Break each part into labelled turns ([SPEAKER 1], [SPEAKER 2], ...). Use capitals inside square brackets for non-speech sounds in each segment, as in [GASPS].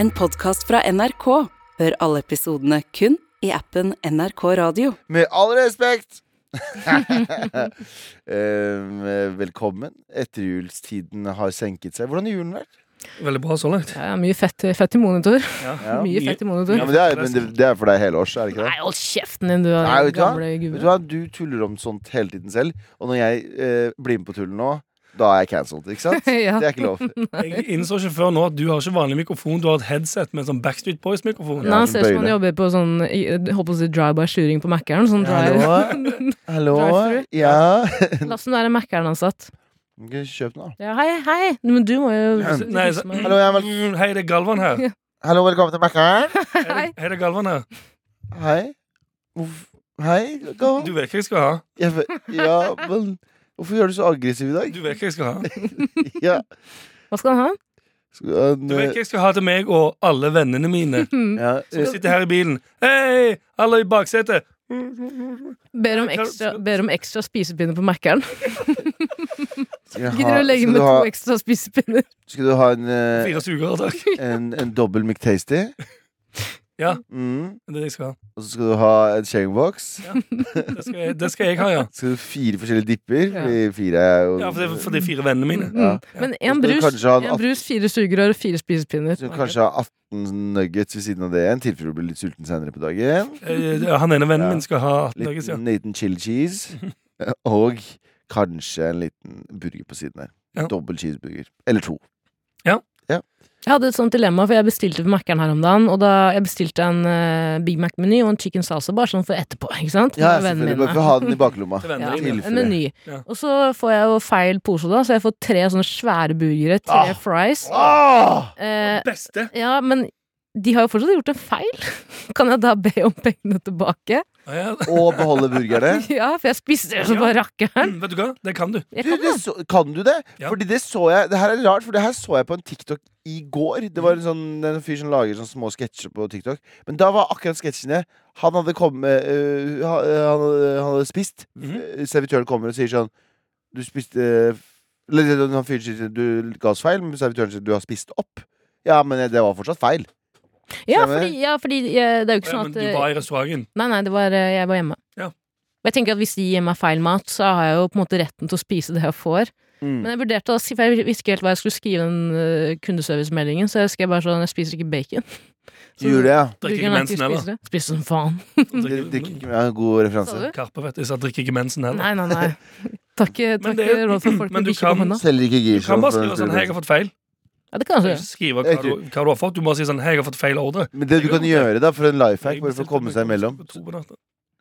[SPEAKER 1] En podkast fra NRK. Hør alle episodene kun i appen NRK Radio.
[SPEAKER 2] Med all respekt! Em, Ehm, Velkommen. Etterjulstiden har senket seg. Hvordan har julen vært?
[SPEAKER 3] Veldig bra så langt.
[SPEAKER 4] Ja, ja, mye fett, fett i monitor.
[SPEAKER 2] Ja.
[SPEAKER 4] mye fett i monitor.
[SPEAKER 2] Ja, men det, er, men det, det er for deg hele års, er det ikke det?
[SPEAKER 4] Nei, hold kjeften din, du
[SPEAKER 2] Nei, vet du hva?
[SPEAKER 4] gamle
[SPEAKER 2] Vet
[SPEAKER 4] gubbe.
[SPEAKER 2] du hva, du tuller om sånt hele tiden selv. Og når jeg eh, blir med på tullen nå, da er jeg cancelled, ikke [LAUGHS] sant?
[SPEAKER 4] Ja.
[SPEAKER 2] Det er ikke lov.
[SPEAKER 3] Jeg innså ikke før nå at du har ikke vanlig mikrofon, du har et headset med en sånn Backstreet Boys-mikrofon.
[SPEAKER 2] Ja.
[SPEAKER 4] Nei, han ser ut som
[SPEAKER 2] bøyle.
[SPEAKER 4] han jobber på sånn i- jeg Håper å si drive-by-shooting på Mækkern. Sånn drive.
[SPEAKER 2] [LAUGHS] Hallo? Hallo?
[SPEAKER 4] Drive-thru?
[SPEAKER 2] Ja?
[SPEAKER 4] La oss være Mækkern-ansatt.
[SPEAKER 2] Ok, Kjøp den, da.
[SPEAKER 4] Ja, hei, hei! Men du må jo
[SPEAKER 3] Nei, så-
[SPEAKER 4] Nei,
[SPEAKER 2] Hallo, jeg er vel...
[SPEAKER 3] Mm, Hei, det er Galvan
[SPEAKER 4] [LAUGHS]
[SPEAKER 3] her.
[SPEAKER 2] Hallo velkommen til Mækkern.
[SPEAKER 3] Hei, det- hei, det er Galvan her.
[SPEAKER 2] Hei. Hvorf- Hei, go.
[SPEAKER 3] Du vet hva jeg skal ha.
[SPEAKER 2] Jeg vet- Ja, men Hvorfor gjør du så aggressiv i dag?
[SPEAKER 3] Du vet hva jeg skal ha
[SPEAKER 2] Ja.
[SPEAKER 4] Hva skal han ha?
[SPEAKER 2] Skal du ha en,
[SPEAKER 3] Du
[SPEAKER 2] eh,
[SPEAKER 3] vet hva jeg skal ha til meg og alle vennene
[SPEAKER 4] [LAUGHS]
[SPEAKER 3] mine
[SPEAKER 2] ja,
[SPEAKER 3] som
[SPEAKER 2] eh,
[SPEAKER 3] sitter her i bilen. Hei, alle i baksetet.
[SPEAKER 4] Ber om ekstra, ber om ekstra spisepinner på Mækkern.
[SPEAKER 2] skal jeg
[SPEAKER 4] Gidder
[SPEAKER 2] ha-
[SPEAKER 4] du å legge
[SPEAKER 2] skal
[SPEAKER 4] med
[SPEAKER 2] du ha-
[SPEAKER 4] to ekstra spisepinner?
[SPEAKER 2] Skal du ha en, eh,
[SPEAKER 3] Fire sugere, takk.
[SPEAKER 2] en, en dobbel McTasty?
[SPEAKER 3] Ja.
[SPEAKER 2] Mm.
[SPEAKER 3] Det er det jeg skal ha.
[SPEAKER 2] Og så skal du ha en sharingbox.
[SPEAKER 3] Det skal jeg, det skal jeg ha, ja.
[SPEAKER 2] Skal du ha fire forskjellige dipper?
[SPEAKER 4] Ja.
[SPEAKER 2] Fordi fire er jo
[SPEAKER 3] ja for, det, for det er fire vennene mine.
[SPEAKER 2] Ja.
[SPEAKER 4] Men
[SPEAKER 2] Og så
[SPEAKER 4] én
[SPEAKER 2] skal du
[SPEAKER 4] brus,
[SPEAKER 2] kanskje ha en
[SPEAKER 4] en brus, fire sugerør og fire spisepinner.
[SPEAKER 2] Så kanskje ha 18 nuggets ved siden av det igjen, i tilfelle du blir litt sulten senere på dagen.
[SPEAKER 3] Eh, det- Han ene vennen
[SPEAKER 2] Ja.
[SPEAKER 3] min skal ha 18 dager
[SPEAKER 2] Litt,
[SPEAKER 3] siden.
[SPEAKER 2] en liten chili cheese. Og kanskje en liten burger på siden der.
[SPEAKER 3] Ja.
[SPEAKER 2] Dobbel cheeseburger. Eller to.
[SPEAKER 4] Jeg hadde et sånt dilemma, for jeg bestilte på Mækkern her om dagen. Og da jeg bestilte en eh, Big Mac-meny og en chicken salsa bare sånn for etterpå. [LAUGHS] ikke sant?
[SPEAKER 2] Ja,
[SPEAKER 4] Med vennene
[SPEAKER 2] selvfølgelig.
[SPEAKER 4] mine.
[SPEAKER 2] Bare for å ha den i baklomma.
[SPEAKER 3] Til vennene
[SPEAKER 4] Ja,
[SPEAKER 3] dine.
[SPEAKER 2] Tilfelle.
[SPEAKER 4] en meny.
[SPEAKER 3] Ja.
[SPEAKER 4] Og så får jeg jo feil pose, da, så jeg får tre sånne svære burgere,
[SPEAKER 2] Ah.
[SPEAKER 4] tre fries.
[SPEAKER 2] Åh!
[SPEAKER 4] Eh,
[SPEAKER 3] Beste!
[SPEAKER 4] ja, men de har jo fortsatt gjort en feil. [LAUGHS] Kan jeg da be om pengene tilbake?
[SPEAKER 3] Ja, ja.
[SPEAKER 2] Og beholde burgerne.
[SPEAKER 4] [LAUGHS] Ja, for jeg spiste det så bare rakkeren.
[SPEAKER 3] Mm, Vet du hva? Det kan du.
[SPEAKER 4] Jeg
[SPEAKER 2] Du,
[SPEAKER 4] kan
[SPEAKER 2] det
[SPEAKER 4] det.
[SPEAKER 2] så, kan du det?
[SPEAKER 3] Ja.
[SPEAKER 2] Fordi det så jeg Det her er rart, for det her så jeg på en TikTok i går. Det
[SPEAKER 3] Mm.
[SPEAKER 2] var en sånn det er en fyr som lager sånne små sketsjer på TikTok. Men da var akkurat sketsjene Han hadde kommet øh, ha- øh, han, hadde- han hadde spist.
[SPEAKER 3] Mhm.
[SPEAKER 2] Øh, Servitøren kommer og sier sånn Du spiste øh, Eller øh, han fyren sier du ga oss feil, men servitøren sier du har spist opp. Ja, men det var fortsatt feil.
[SPEAKER 4] Ja,
[SPEAKER 2] Stemmer.
[SPEAKER 4] fordi, ja, fordi eh, det er jo ikke
[SPEAKER 3] Ja, men
[SPEAKER 4] sånn at
[SPEAKER 3] du
[SPEAKER 4] eh,
[SPEAKER 3] var i restauranten.
[SPEAKER 4] Nei, nei, det var, eh, jeg var hjemme.
[SPEAKER 3] Ja.
[SPEAKER 4] Og jeg tenker at Hvis de gir meg feil mat, så har jeg jo på en måte retten til å spise det jeg får.
[SPEAKER 3] Mm.
[SPEAKER 2] Mm.
[SPEAKER 4] Men jeg vurderte å si, for jeg visste ikke helt hva jeg skulle skrive i den eh, kundeservicemeldingen, så jeg skrev bare sånn Jeg spiser ikke bacon.
[SPEAKER 2] Du [LAUGHS] gjorde det, ja.
[SPEAKER 3] Drikker ikke
[SPEAKER 4] Burgeren er
[SPEAKER 3] mensen
[SPEAKER 4] jeg
[SPEAKER 3] heller.
[SPEAKER 4] spiser det. Spiser som faen.
[SPEAKER 2] Det,
[SPEAKER 3] Drikker-
[SPEAKER 2] det, ja. God referanse.
[SPEAKER 4] Sa du?
[SPEAKER 3] Karpe, vet du. Jeg sa drikker ikke mensen heller.
[SPEAKER 4] Nei, nei, nei.
[SPEAKER 3] [LAUGHS]
[SPEAKER 4] Takk,
[SPEAKER 3] Men
[SPEAKER 4] takk
[SPEAKER 3] det er jo-
[SPEAKER 4] råd for
[SPEAKER 3] men
[SPEAKER 4] folk med
[SPEAKER 3] du
[SPEAKER 4] bikkje på
[SPEAKER 3] kan-
[SPEAKER 4] hånda.
[SPEAKER 2] Selv ikke
[SPEAKER 3] Du kan
[SPEAKER 2] Girson.
[SPEAKER 3] bare skrive sånn 'Hei, jeg har fått feil'.
[SPEAKER 4] Ja, det kan
[SPEAKER 3] Du kan
[SPEAKER 4] jeg gjøre.
[SPEAKER 3] ikke skrive hva du, hva du har fått. Du må si sånn 'Hei, jeg har fått feil ordre'.
[SPEAKER 2] Men det du kan gjøre, da, for en life hack, bare for å komme seg imellom,
[SPEAKER 3] På to på natta.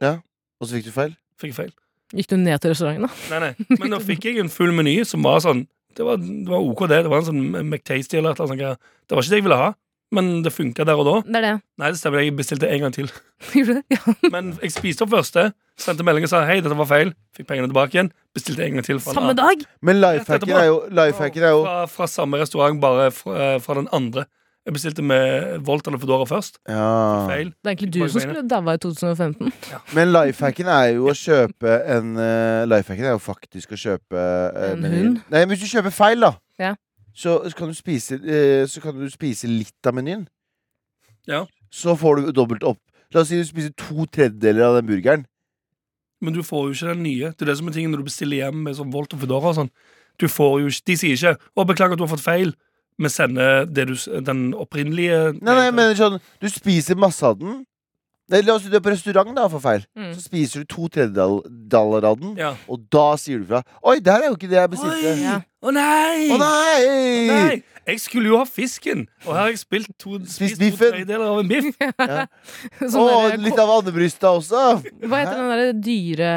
[SPEAKER 2] og så fikk du feil?
[SPEAKER 3] Fikk jeg feil.
[SPEAKER 4] Gikk du ned til restauranten, da?
[SPEAKER 3] Nei, nei. Men nå fikk jeg en full meny som var sånn Det var, det var OK, det. Det var en sånn McTasty eller et eller annet. sånt greier. Det var ikke det jeg ville ha, men det funka der og da.
[SPEAKER 4] Det er det. [LAUGHS]
[SPEAKER 3] Nei, det stemmer, jeg bestilte en gang til.
[SPEAKER 4] Gjorde du det? Ja,
[SPEAKER 3] Men jeg spiste opp første, sendte melding og sa 'Hei, dette var feil'. Fikk pengene tilbake igjen. Bestilte en gang til. fra en
[SPEAKER 4] samme
[SPEAKER 3] annen.
[SPEAKER 4] dag?
[SPEAKER 2] Men lifehacken
[SPEAKER 3] Etterpå.
[SPEAKER 2] er jo, lifehacken er jo
[SPEAKER 3] fra, fra samme restaurant, bare fra, fra den andre. Jeg bestilte med Volt eller Foodora først.
[SPEAKER 2] ja.
[SPEAKER 3] Feil.
[SPEAKER 4] Det er egentlig du som skulle daua i 2015.
[SPEAKER 2] Men lifehacken er jo å kjøpe en eh, Lifehacken er jo faktisk å kjøpe eh,
[SPEAKER 4] En
[SPEAKER 2] menyen.
[SPEAKER 4] hund?
[SPEAKER 2] Nei, men hvis du kjøper feil, da,
[SPEAKER 4] Ja.
[SPEAKER 2] så, så, kan du spise, eh, så kan du spise litt av menyen.
[SPEAKER 3] Ja.
[SPEAKER 2] Så får du dobbelt opp. La oss si du spiser to tredjedeler av den burgeren.
[SPEAKER 3] Men du får jo ikke den nye. Det er det som er tingen når du bestiller hjem med sånn Volt og Foodora og sånn. Du får jo ikke De sier ikke 'Å, beklager at du har fått feil'. Vi sender det du, s- den opprinnelige
[SPEAKER 2] Nei, nei, jeg mener sånn Du spiser masse av den. Nei, la oss si du er på restaurant, da, for feil.
[SPEAKER 4] Mm. [LAUGHS]
[SPEAKER 2] Så spiser du to tredjedeler av den,
[SPEAKER 3] Ja.
[SPEAKER 2] og da sier du fra. Oi, det her er jo ikke det jeg bestilte.
[SPEAKER 4] Ja.
[SPEAKER 3] Å nei!
[SPEAKER 2] Å nei!
[SPEAKER 3] Nei! Jeg skulle jo ha fisken, og her har jeg spilt to,
[SPEAKER 2] Spist
[SPEAKER 3] spist to
[SPEAKER 2] biffen.
[SPEAKER 3] tredjedeler av en biff.
[SPEAKER 4] Sånn
[SPEAKER 2] Å,
[SPEAKER 4] der-
[SPEAKER 2] litt av andebrysta også.
[SPEAKER 4] Hva heter den derre dyre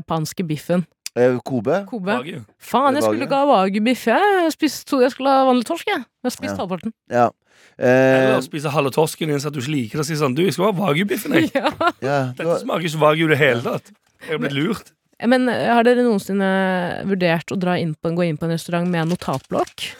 [SPEAKER 4] japanske biffen?
[SPEAKER 2] Eh, Kobe?
[SPEAKER 4] Kobe?
[SPEAKER 3] Wagyu.
[SPEAKER 4] Faen, jeg
[SPEAKER 2] Wagyu.
[SPEAKER 4] skulle ikke ha wagyubiff, jeg. Jeg spiste to- Jeg skulle ha vanlig torsk, jeg. Jeg spiste
[SPEAKER 2] Ja.
[SPEAKER 4] halvparten.
[SPEAKER 2] Ja. Eh,
[SPEAKER 3] Eller spise halve torsken din så at du ikke liker det. og Si sånn Du, jeg skulle ha Wagyu-biffen, jeg.
[SPEAKER 4] Ja.
[SPEAKER 2] ja. det
[SPEAKER 3] Dette
[SPEAKER 2] var-
[SPEAKER 3] smaker ikke Wagyu i det hele tatt. Jeg har blitt lurt.
[SPEAKER 4] Men eh, har dere noensinne vurdert å dra inn på, gå inn på en restaurant med en notatblokk?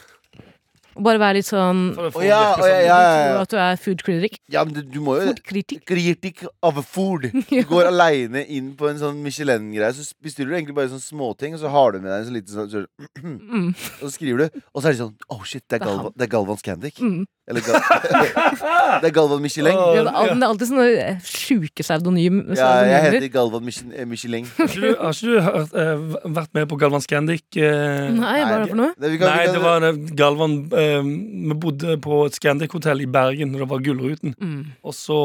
[SPEAKER 4] Og bare være litt sånn
[SPEAKER 3] For det får
[SPEAKER 2] Å, ja,
[SPEAKER 3] virke
[SPEAKER 2] å, ja,
[SPEAKER 3] som-
[SPEAKER 2] ja,
[SPEAKER 4] Tror
[SPEAKER 2] ja, ja.
[SPEAKER 4] at du er food critic?
[SPEAKER 2] ja, men du, du må jo
[SPEAKER 4] Food critic?
[SPEAKER 2] Kritikk av food. Du
[SPEAKER 4] [LAUGHS] Ja.
[SPEAKER 2] går aleine inn på en sånn Michelin-greie, så bestiller du egentlig bare sånne småting, og så har du med deg en sånn liten sånn så, [CLEARS THROAT]
[SPEAKER 4] Mm.
[SPEAKER 2] Og så skriver du, og så er det sånn Oh shit, det er,
[SPEAKER 4] Det er
[SPEAKER 2] Galvan, det er Galvan Scandic.
[SPEAKER 4] Mm.
[SPEAKER 2] Eller Gal [LAUGHS] det er Galvan Michelin.
[SPEAKER 4] Ja, det er al- det er alltid sånne eh, sjuke pseudonym
[SPEAKER 2] Ja, jeg
[SPEAKER 4] pseudonymer.
[SPEAKER 2] heter Galvan Michel- eh, Michelin.
[SPEAKER 3] Har ikke du, har ikke du hørt, eh, vært med på Galvan Scandic? eh?
[SPEAKER 4] Nei, hva er det for noe?
[SPEAKER 2] Nei, vi kan- vi
[SPEAKER 3] Nei,
[SPEAKER 2] kan-
[SPEAKER 3] det var eh, Galvan eh, Vi bodde på et Scandic-hotell i Bergen, og det var Gullruten.
[SPEAKER 4] Mm.
[SPEAKER 3] Og så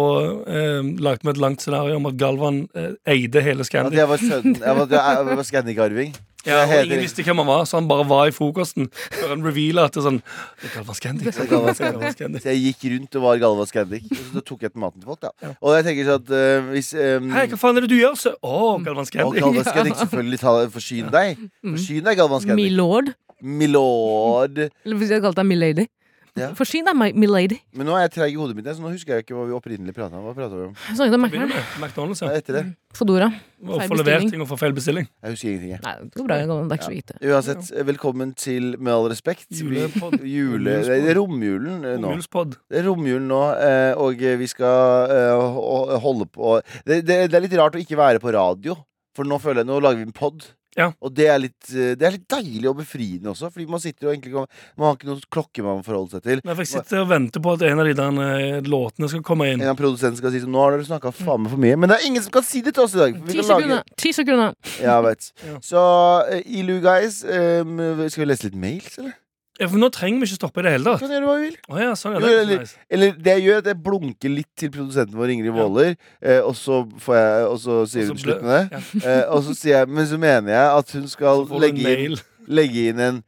[SPEAKER 3] eh, lagde vi et langt scenario om at Galvan eh, eide hele
[SPEAKER 2] At
[SPEAKER 3] Scandic.
[SPEAKER 2] jeg var sønnen Jeg var, jeg var Scandic-arving.
[SPEAKER 3] Ja,
[SPEAKER 2] Jeg
[SPEAKER 3] og
[SPEAKER 2] heter
[SPEAKER 3] ingen visste hvem han var, så han bare var i frokosten. Før han reveala at det er sånn Det er Galvan Scandic.
[SPEAKER 2] er Galvan
[SPEAKER 3] Galvan Scandic.
[SPEAKER 2] Så jeg gikk rundt og var Galvan Scandic. Og så tok jeg til maten til folk, da. Og jeg tenker sånn at eh, hvis um,
[SPEAKER 3] Hei, hva faen er det du gjør? Så, å, Galvan
[SPEAKER 2] og
[SPEAKER 3] Scandic.
[SPEAKER 2] Galvan Scandic selvfølgelig ta, forsyn deg. Forsyn deg, Galvan Scandic.
[SPEAKER 4] Milord.
[SPEAKER 2] Milord.
[SPEAKER 4] Eller hvis jeg hadde kalt deg Milady.
[SPEAKER 2] Ja.
[SPEAKER 4] Forsyn deg, my- Milady.
[SPEAKER 2] Men nå er jeg treig i hodet mitt, så nå husker jeg ikke hva vi opprinnelig prata om. Hva pratet vi om?
[SPEAKER 4] Jeg Snakket om
[SPEAKER 3] Begynner
[SPEAKER 4] Mækkern.
[SPEAKER 3] med McDonald's,
[SPEAKER 2] Ja,
[SPEAKER 3] ja.
[SPEAKER 2] etter det.
[SPEAKER 4] Fodora.
[SPEAKER 3] Og
[SPEAKER 4] Feil
[SPEAKER 3] få levert
[SPEAKER 4] bestilling.
[SPEAKER 3] ting og få feil bestilling.
[SPEAKER 2] Jeg husker ingenting, jeg.
[SPEAKER 4] Nei, det går bra. Det er ikke så lite.
[SPEAKER 2] Uansett, velkommen til Med all respekt. Vi-
[SPEAKER 3] Julepod-
[SPEAKER 2] Jule... Det er
[SPEAKER 3] Romjulspod.
[SPEAKER 2] romjulen eh, nå.
[SPEAKER 3] Omhjulspod.
[SPEAKER 2] Det er romjulen nå, eh, og vi skal eh, ho- holde på det, det, det er litt rart å ikke være på radio, for nå føler jeg Nå lager vi en pod.
[SPEAKER 3] Ja.
[SPEAKER 2] Og det er, litt, eh, det er litt deilig og befriende også, fordi man sitter og egentlig kan, Man har ikke noen klokke man må forholde seg til.
[SPEAKER 3] Nei, for Jeg sitter og venter på at en av de der eh, låtene skal komme inn.
[SPEAKER 2] En av produsentene skal si sånn Nå har dere snakka faen meg for mye. Men det er ingen som kan si det til oss i dag. for vi
[SPEAKER 4] Ti
[SPEAKER 2] kan lage-
[SPEAKER 4] sekunder. Ti sekunder.
[SPEAKER 2] Ja, jeg vet.
[SPEAKER 3] [LAUGHS] Ja.
[SPEAKER 2] Så eh, Ilu guys, eh, skal vi lese litt mails, eller?
[SPEAKER 3] Ja, for nå trenger vi ikke stoppe i det hele
[SPEAKER 2] Du
[SPEAKER 3] tatt.
[SPEAKER 2] kan gjøre hva vi vil.
[SPEAKER 3] Å ja, sånn, ja,
[SPEAKER 2] Jo,
[SPEAKER 3] det er
[SPEAKER 2] eller-
[SPEAKER 3] nice.
[SPEAKER 2] Eller det jeg gjør, det blunker litt til produsenten vår, Ingrid
[SPEAKER 3] Ja.
[SPEAKER 2] Waaler, eh, og så får jeg Og så sier hun
[SPEAKER 3] Og så
[SPEAKER 2] slutt
[SPEAKER 3] ble-
[SPEAKER 2] med det. Eh, og så sier jeg Men så mener jeg at hun skal
[SPEAKER 3] Så får du en
[SPEAKER 2] legge inn,
[SPEAKER 3] mail.
[SPEAKER 2] legge inn en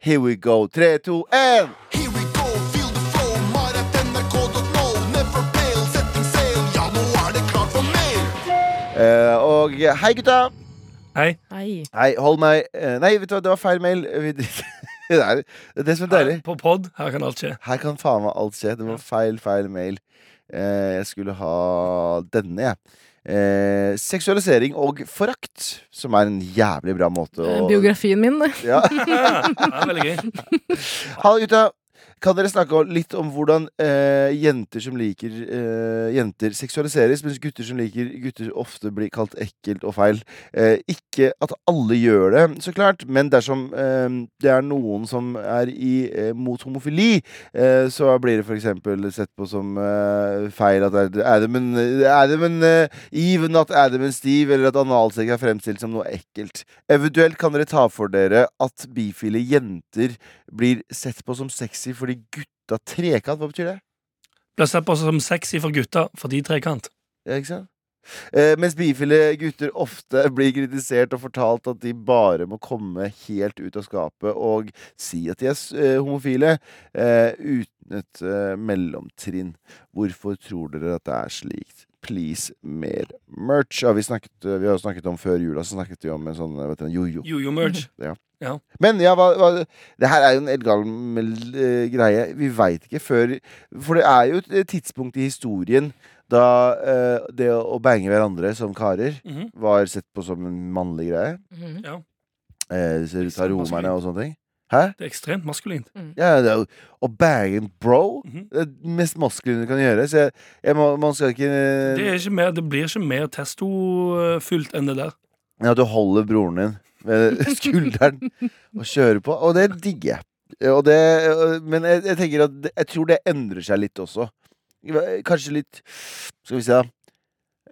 [SPEAKER 2] Here we go. Tre, to, én!
[SPEAKER 5] Here we go, feel the flow, maratnrk.no, never fail, setting sail, ja nå er det klart for mer.
[SPEAKER 2] Eh, og hei, gutta!
[SPEAKER 3] Hei.
[SPEAKER 4] Nei.
[SPEAKER 2] Hei, hold meg eh, Nei, vet du hva, det var feil mail. Vi- [LAUGHS] det, er, det er det som er deilig.
[SPEAKER 3] Her, på pod. Her kan
[SPEAKER 2] [LAUGHS]
[SPEAKER 3] alt skje.
[SPEAKER 2] Her kan faen meg alt skje. Det var feil, feil mail. Eh, jeg skulle ha denne, jeg. Eh, seksualisering og forakt, som er en jævlig bra måte
[SPEAKER 4] Eh,
[SPEAKER 2] å
[SPEAKER 4] Biografien min. det.
[SPEAKER 2] Ja.
[SPEAKER 3] Ja, det er veldig gøy.
[SPEAKER 2] Hallo, gutta. Kan dere snakke om- litt om hvordan eh, jenter som liker eh, jenter, seksualiseres, mens gutter som liker gutter, ofte blir kalt ekkelt og feil? Eh, ikke at alle gjør det, så klart, men dersom eh, det er noen som er i, eh, mot homofili, eh, så blir det f.eks. sett på som eh, feil at Ad- Adam and, Adam and eh, Eve, not Adam and Steve, eller at analsex er fremstilt som noe ekkelt. Eventuelt kan dere ta for dere at bifile jenter blir sett på som sexy fordi gutta trekant. Hva betyr det?
[SPEAKER 3] Blir sett på som sexy for gutta fordi trekant.
[SPEAKER 2] Ja, ikke sant? Eh, mens bifile gutter ofte [LAUGHS] blir kritisert og fortalt at de bare må komme helt ut av skapet og si at de er s- eh, homofile, eh, uten et eh, mellomtrinn. Hvorfor tror dere at det er slikt? Please, mer merch. Ja, vi, snakket, eh, vi har jo snakket om Før jula så snakket vi om en sånn vet du, jojo. [LAUGHS]
[SPEAKER 3] Jojo-merge.
[SPEAKER 2] Men ja, hva, hva, det her er jo en eldgammel eh, greie. Vi veit ikke før For det er jo et tidspunkt i historien da eh, det å, å bange hverandre som karer
[SPEAKER 3] Mhm.
[SPEAKER 2] var sett på som en mannlig greie.
[SPEAKER 3] Mm.
[SPEAKER 4] Mhm.
[SPEAKER 2] Eh, så ut av
[SPEAKER 3] Ekstremt
[SPEAKER 2] romerne og sånne ting.
[SPEAKER 3] Det er ekstremt maskulint.
[SPEAKER 2] Ja, det er jo, å bange en bro
[SPEAKER 3] Mhm.
[SPEAKER 2] Det er det mest maskuline du kan gjøre. Så jeg, jeg må, man skal ikke eh,
[SPEAKER 3] Det, er ikke mer, det blir ikke mer testofylt enn det der.
[SPEAKER 2] Ja, du holder broren din ved skulderen og kjører på. Og det digger jeg. Og det, men jeg, jeg tenker at det- jeg tror det endrer seg litt også. Kanskje litt Skal vi se, da.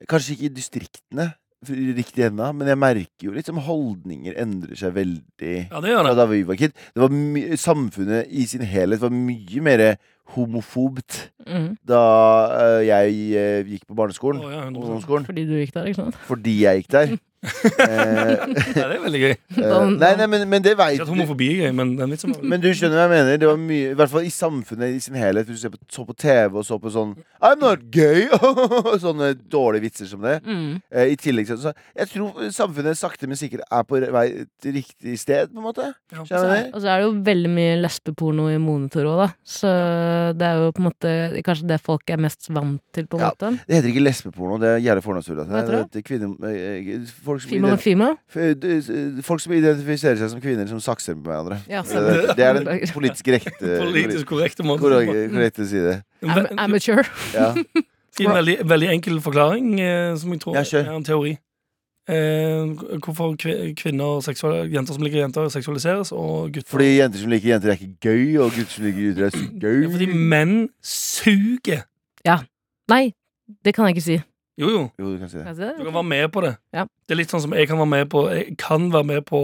[SPEAKER 2] Kanskje ikke i distriktene for- riktig ennå, men jeg merker jo litt som holdninger endrer seg veldig
[SPEAKER 3] Ja, det gjør
[SPEAKER 2] fra
[SPEAKER 3] det.
[SPEAKER 2] da vi var kid. Det var my samfunnet i sin helhet var mye mer homofobt
[SPEAKER 4] Mhm.
[SPEAKER 2] da eh, jeg eh, gikk på barneskolen.
[SPEAKER 3] Å, ja, 100%.
[SPEAKER 2] ungdomsskolen.
[SPEAKER 4] Fordi du gikk der, ikke sant?
[SPEAKER 2] Fordi jeg gikk der. Eh,
[SPEAKER 3] [LAUGHS] Ja, det er veldig gøy.
[SPEAKER 2] Eh, nei, nei, men, men det veit
[SPEAKER 3] Ikke at
[SPEAKER 2] du.
[SPEAKER 3] homofobi er gøy, men den
[SPEAKER 2] [LAUGHS]
[SPEAKER 3] vitsen var
[SPEAKER 2] Men du skjønner hva jeg mener. Det var mye, I hvert fall i samfunnet i sin helhet. Hvis du ser på, så på TV og så på sånn I'm not gay! [LAUGHS] Sånne dårlige vitser som det.
[SPEAKER 4] Mhm.
[SPEAKER 2] Eh, I tillegg så, så Jeg tror samfunnet sakte, men sikkert er på re- vei til riktig sted, på en måte. Skjønner
[SPEAKER 3] Ja.
[SPEAKER 2] du hva jeg mener?
[SPEAKER 4] Og så er det jo veldig mye lesbeporno i monitor òg, da. Så det er jo på en måte kanskje det folk er mest vant til, på en
[SPEAKER 2] Ja.
[SPEAKER 4] måte.
[SPEAKER 2] Det heter ikke lesbeporno. Det er jævlig altså. fornavnsfull.
[SPEAKER 4] Hva heter det?
[SPEAKER 2] eh, Folk, som
[SPEAKER 4] Female og
[SPEAKER 2] ident-
[SPEAKER 4] female.
[SPEAKER 2] f- d- eh, folk som identifiserer seg som kvinner, som sakser med hverandre.
[SPEAKER 4] Ja, stemmer.
[SPEAKER 2] Det, det er den
[SPEAKER 4] [LAUGHS] Beklager.
[SPEAKER 2] politisk rekte
[SPEAKER 3] Politisk korrekte måte.
[SPEAKER 2] korrekte korrekte side.
[SPEAKER 4] Am-
[SPEAKER 3] Ve-
[SPEAKER 4] Amateur.
[SPEAKER 2] Ja.
[SPEAKER 3] En veldig, veldig enkel forklaring, eh, som jeg tror
[SPEAKER 2] Ja, kjør.
[SPEAKER 3] er en teori. eh, hvorfor kvi- kvinner, og seksual- jenter som liker jenter, seksualiseres, og gutter
[SPEAKER 2] Fordi jenter som liker jenter, er ikke gøy, og gutter som liker gutter,
[SPEAKER 3] [CLEARS THROAT]
[SPEAKER 2] er ikke
[SPEAKER 3] Ja, Fordi
[SPEAKER 2] gøy.
[SPEAKER 3] menn suger.
[SPEAKER 4] Nei, det kan jeg ikke si.
[SPEAKER 3] Jo, jo.
[SPEAKER 2] Jo, du kan si
[SPEAKER 4] Kan
[SPEAKER 2] det.
[SPEAKER 4] jeg si det?
[SPEAKER 3] Du kan være med på det.
[SPEAKER 4] Ja.
[SPEAKER 3] Det er litt sånn som jeg kan være med på Jeg kan være med på